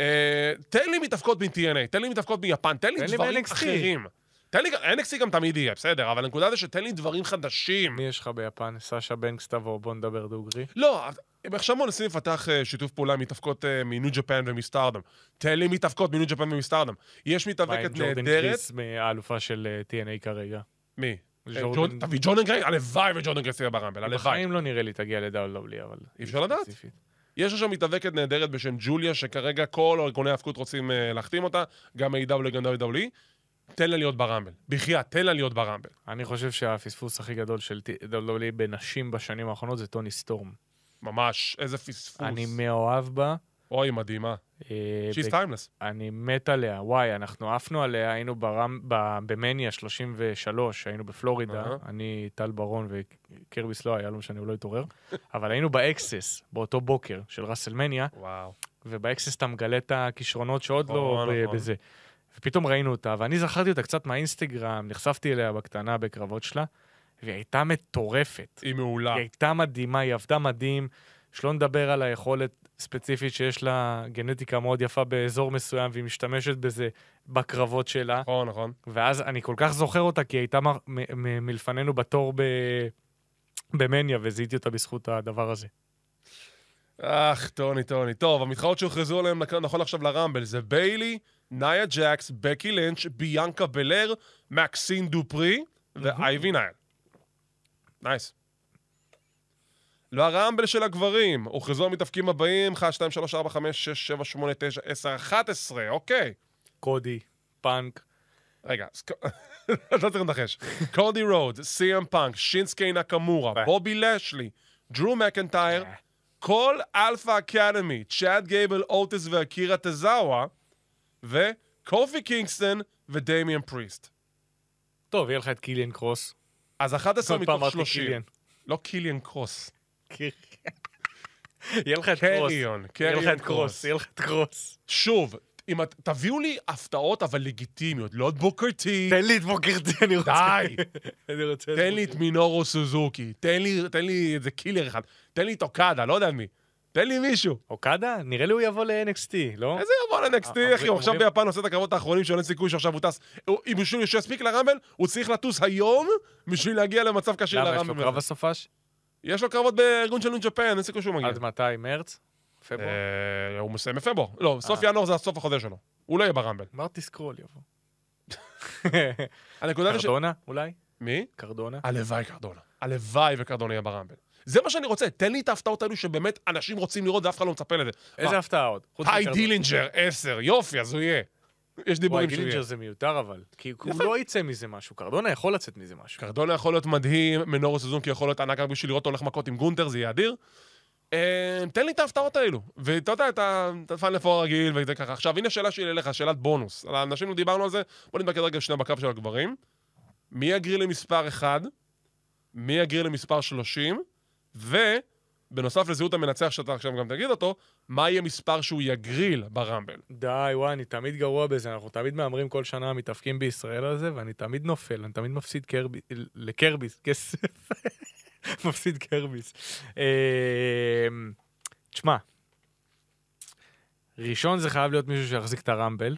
Speaker 3: אה, תן לי מתאבקות מ-TNA, תן לי מתאבקות מיפן, תן לי
Speaker 4: תן לי
Speaker 3: דברים
Speaker 4: מ-NXT.
Speaker 3: אחרים. תן לי, גם- NXT גם תמיד יהיה, בסדר, אבל הנקודה זה שתן לי דברים חדשים.
Speaker 4: מי יש לך ביפן? סשה בנקס תבוא, בוא נדבר דוגרי.
Speaker 3: לא, הם עכשיו מנסים לפתח אה, שיתוף פעולה עם מתאבקות אה, מניו ג'פן ומסטארדם. תן לי מתאבקות מניו ג'פן ומסטארדם. יש
Speaker 4: מה עם
Speaker 3: מתאבקת
Speaker 4: ג'ורדן
Speaker 3: נהדרת.
Speaker 4: קריס, האלופה של אה, TNA כרגע?
Speaker 3: מי? אה,
Speaker 4: ג'ורדן-
Speaker 3: ג'ורדן- תביא ג'ורדן גריי, הלוואי וג'ורדן גריי יהיה ברמבל, הלוואי.
Speaker 4: בחיים לא נראה לי תגיע לדאולובלי, אבל...
Speaker 3: אי אפשר לדעת.
Speaker 4: ספציפית.
Speaker 3: יש עכשיו מתאבקת נהדרת בשם ג'וליה, שכרגע כל ארגוני האבקות רוצים אה, להחתים אותה, גם A.W. גם W.W.E. תן לה להיות ברמבל. בחייאת, תן לה להיות ברמבל.
Speaker 4: אני חושב שהפספוס הכי גדול של דאולובלי בנשים בשנים האחרונות זה טוני סטורם.
Speaker 3: ממש, איזה פספוס.
Speaker 4: אני מאוהב בה.
Speaker 3: אוי, מדהימה.
Speaker 4: אה,
Speaker 3: She's
Speaker 4: ב-
Speaker 3: timeless.
Speaker 4: אני מת עליה, וואי, אנחנו עפנו עליה, היינו ברם, ב, במניה 33, היינו בפלורידה,
Speaker 3: אהה.
Speaker 4: uh-huh. אני, טל ברון וקרביס לא היה, לא משנה, הוא לא
Speaker 3: (laughs)
Speaker 4: התעורר, אבל היינו באקסס, באותו בוקר של ראסלמניה,
Speaker 3: וואו.
Speaker 4: ובאקסס אתה מגלה את הכישרונות שעוד לא
Speaker 3: נכון,
Speaker 4: ב-
Speaker 3: נכון.
Speaker 4: בזה. ופתאום ראינו אותה, ואני זכרתי אותה קצת מהאינסטגרם, נחשפתי אליה בקטנה בקרבות שלה, והיא הייתה מטורפת.
Speaker 3: היא מעולה.
Speaker 4: היא הייתה מדהימה, היא עבדה מדהים. שלא נדבר על היכולת ספציפית שיש לה גנטיקה מאוד יפה באזור מסוים, והיא משתמשת בזה בקרבות שלה.
Speaker 3: נכון, נכון.
Speaker 4: ואז אני כל כך זוכר אותה, כי היא הייתה מ- מ- מ- מלפנינו בתור ב... במניה, וזיהיתי אותה בזכות הדבר הזה.
Speaker 3: אך, טוני, טוני. טוב, המתחרות שהוכרזו עליהן לכ- נכון עכשיו לרמבל זה ביילי, נאיה ג'קס, בקי לינץ', ביאנקה בלר, מקסין דופרי ואייבי נייל. נייס. לרמבל של הגברים, הוכרזו המתאבקים הבאים, 1, 2, 3, 4, 5, 6, 7, 8, 9, 10, 11, אוקיי.
Speaker 4: קודי, פאנק,
Speaker 3: רגע, אז ק- (laughs) לא צריך לנחש. קודי רודס, סי.אם פאנק, שינסקי נקמורה,
Speaker 4: אה.
Speaker 3: בובי לשלי, דרו מקנטייר, כל אלפא אקדמי, צ'אד גייבל, אוטיס ואקירה טזאווה, וקופי קינגסטון ודמיאן פריסט.
Speaker 4: טוב, יהיה לך את קיליאן קרוס.
Speaker 3: אז 11
Speaker 4: כל פעם
Speaker 3: מתוך
Speaker 4: אמרתי
Speaker 3: 30.
Speaker 4: קיליאן.
Speaker 3: לא קיליאן קרוס.
Speaker 4: יהיה לך את קרוס.
Speaker 3: קריון,
Speaker 4: יהיה לך
Speaker 3: קריון
Speaker 4: את קרוס,
Speaker 3: קרוס.
Speaker 4: יהיה לך את קרוס.
Speaker 3: שוב, אם את- תביאו לי הפתעות אבל לגיטימיות, לא את בוקר טי,
Speaker 4: תן לי את בוקרתי, אני רוצה.
Speaker 3: די.
Speaker 4: אני רוצה...
Speaker 3: תן לי את מינורו סוזוקי, תן לי, תן לי איזה קילר אחד, תן לי את אוקדה, לא יודע מי. תן לי מישהו.
Speaker 4: אוקדה? נראה לי הוא יבוא ל-NXT, לא?
Speaker 3: איזה יבוא לנקסטי,
Speaker 4: אה,
Speaker 3: אחי, הוא עכשיו
Speaker 4: אומרים-
Speaker 3: ביפן עושה את הקרבות האחרונים שאין סיכוי שעכשיו הוא טס. הוא- אם הוא שוב יספיק לרמבל, הוא צריך לטוס היום בשביל להגיע למצב קשה
Speaker 4: למה, יש לו
Speaker 3: לרמבל.
Speaker 4: קרב הסופש?
Speaker 3: יש לו קרבות בארגון של ניו ג'פן, אין סיכוי שהוא מגיע.
Speaker 4: עד מתי? מרץ? פברואר?
Speaker 3: כן. אה, הוא מסיים בפברואר. לא, סוף
Speaker 4: אה.
Speaker 3: ינואר זה הסוף החודש שלו. הוא לא יהיה ברמבל.
Speaker 4: אמרתי סקרול
Speaker 3: (laughs)
Speaker 4: יבוא.
Speaker 3: הנקודה היא ש... אה,
Speaker 4: קרדונה אולי?
Speaker 3: מי?
Speaker 4: קרדונה?
Speaker 3: הלוואי קרדונה. הלוואי וקרדונה יהיה ברמבל. זה מה שאני רוצה, תן לי את ההפתעות האלו שבאמת אנשים רוצים לראות ואף אחד לא מצפה לזה.
Speaker 4: איזה הפתעה עוד? חוץ
Speaker 3: היי
Speaker 4: מקרדונה.
Speaker 3: דילינג'ר, 10, יופי, אז הוא יהיה. יש
Speaker 4: וואי,
Speaker 3: דיבורים שהוא
Speaker 4: גילינג'ר
Speaker 3: יהיה.
Speaker 4: זה מיותר אבל. כי הוא לא יצא מזה משהו. קרדונה יכול לצאת מזה משהו.
Speaker 3: קרדונה יכול להיות מדהים, מנורו סוזונקי יכול להיות ענק רק בשביל לראות אותו הולך מכות עם גונטר, זה יהיה אדיר. אה, תן לי את ההפתעות האלו. ואתה יודע, אתה אתה פאן לפור הרגיל וזה ככה. עכשיו, הנה שאלה שלי אליך, שאלת בונוס. על האנשים לא דיברנו על זה, בוא נתמקד רגע שנייה בקו של הגברים. מי יגריר למספר 1? מי יגריר למספר 30? ובנוסף לזהות המנצח שאתה עכשיו גם תגיד אותו, מה יהיה מספר שהוא יגריל ברמבל?
Speaker 4: די, וואי, אני תמיד גרוע בזה, אנחנו תמיד מהמרים כל שנה, מתאפקים בישראל על זה, ואני תמיד נופל, אני תמיד מפסיד קרבי, לקרביס, כסף. (laughs) מפסיד קרביס. אמ, תשמע, ראשון זה חייב להיות מישהו שיחזיק את הרמבל,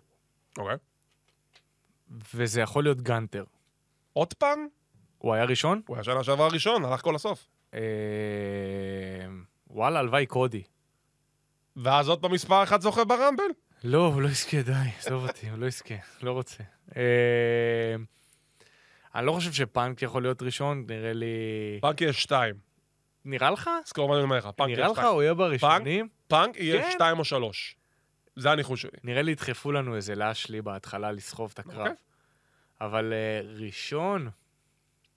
Speaker 3: אוקיי.
Speaker 4: וזה יכול להיות גנטר.
Speaker 3: עוד פעם?
Speaker 4: הוא היה ראשון?
Speaker 3: הוא היה שנה שעבר הראשון, הלך כל הסוף.
Speaker 4: אמ, וואלה, הלוואי קודי.
Speaker 3: ואז עוד פעם מספר אחת זוכה ברמבל.
Speaker 4: לא, הוא לא יזכה, די, עזוב אותי, הוא לא יזכה, לא רוצה. אה, אני לא חושב שפאנק יכול להיות ראשון, נראה לי...
Speaker 3: פאנק יהיה שתיים.
Speaker 4: נראה לך?
Speaker 3: זכור מה אני אומר לך, פאנק יהיה
Speaker 4: נראה לך
Speaker 3: שתיים.
Speaker 4: הוא יהיה בראשונים?
Speaker 3: פאנק
Speaker 4: כן.
Speaker 3: יהיה שתיים או שלוש. זה הניחוש שלי.
Speaker 4: נראה לי ידחפו לנו איזה לאשלי בהתחלה לסחוב את הקרב.
Speaker 3: אוקיי.
Speaker 4: אבל אה, ראשון?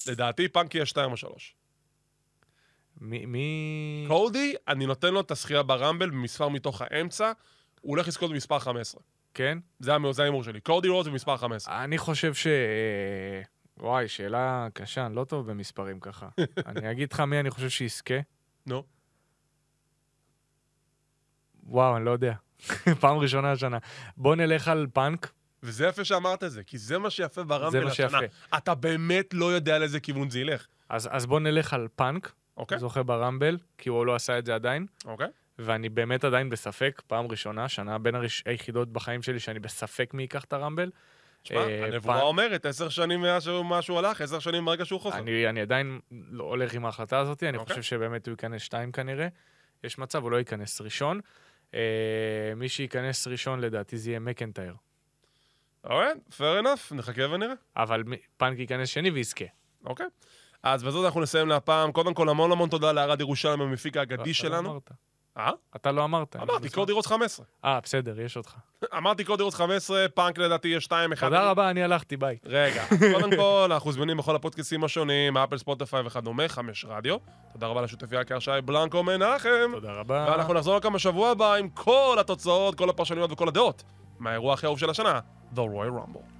Speaker 3: לדעתי פאנק יהיה שתיים או שלוש.
Speaker 4: Mm. מי- מי...
Speaker 3: קודי, אני נותן לו את הזכייה ברמבל במספר מתוך האמצע, הוא הולך לזכות במספר 15.
Speaker 4: כן?
Speaker 3: זה המ- זה ההימור שלי. קודי רוז במספר 15.
Speaker 4: אני חושב ש... אה, וואי, שאלה קשה, אני לא טוב במספרים
Speaker 3: (laughs)
Speaker 4: ככה. אני אגיד לך מי אני חושב שיזכה.
Speaker 3: נו.
Speaker 4: וואו, אני לא יודע. (laughs) פעם ראשונה השנה. בוא נלך על פאנק.
Speaker 3: וזה יפה שאמרת את זה, כי זה מה שיפה
Speaker 4: זה
Speaker 3: ברמבל
Speaker 4: מה
Speaker 3: השנה.
Speaker 4: שיפה.
Speaker 3: אתה באמת לא יודע לאיזה כיוון זה ילך.
Speaker 4: אז, אז בוא נלך על פאנק,
Speaker 3: אוקיי?
Speaker 4: okay. זוכה ברמבל, כי הוא לא עשה את זה עדיין,
Speaker 3: אוקיי?
Speaker 4: ואני באמת עדיין בספק, פעם ראשונה, שנה בין הראש... היחידות בחיים שלי שאני בספק מי ייקח את הרמבל.
Speaker 3: תשמע,
Speaker 4: אה,
Speaker 3: הנבואה
Speaker 4: פאנק-
Speaker 3: אומרת, עשר שנים מאז שהוא- מה שהוא הלך, עשר שנים מהרגע שהוא חוזר.
Speaker 4: אני, אני עדיין לא הולך עם ההחלטה הזאת, אני okay.
Speaker 3: אוקיי.
Speaker 4: חושב שבאמת הוא ייכנס שתיים כנראה. יש מצב, הוא לא ייכנס ראשון. אה, מי שייכנס ראשון לדעתי זה יהיה מקנטייר.
Speaker 3: אוקיי, fair enough, נחכה ונראה.
Speaker 4: אבל מי- פאנק ייכנס שני ויזכה.
Speaker 3: אוקיי. אז בזאת אנחנו נסיים להפעם. קודם כל, המון המון תודה לארד ירושלים, המפיק האגדי
Speaker 4: אתה לא
Speaker 3: שלנו.
Speaker 4: אמרת.
Speaker 3: אה?
Speaker 4: אתה לא אמרת. אני
Speaker 3: אמרתי,
Speaker 4: מזמן-
Speaker 3: קודי רוץ 15.
Speaker 4: אה, בסדר, יש אותך.
Speaker 3: אמרתי קודי רוץ 15, פאנק לדעתי יש 2, 1.
Speaker 4: תודה רבה, אני הלכתי, ביי.
Speaker 3: רגע, קודם כל, אנחנו זמינים בכל הפודקאסים השונים, אפל, ספוטיפיי וכדומה, 5 רדיו. תודה רבה לשותפי היקר שי בלנקו מנחם.
Speaker 4: תודה רבה.
Speaker 3: ואנחנו נחזור לכאן בשבוע הבא עם כל התוצאות, כל הפרשנויות וכל הדעות מהאירוע הכי אהוב של השנה, The Royal Rumble.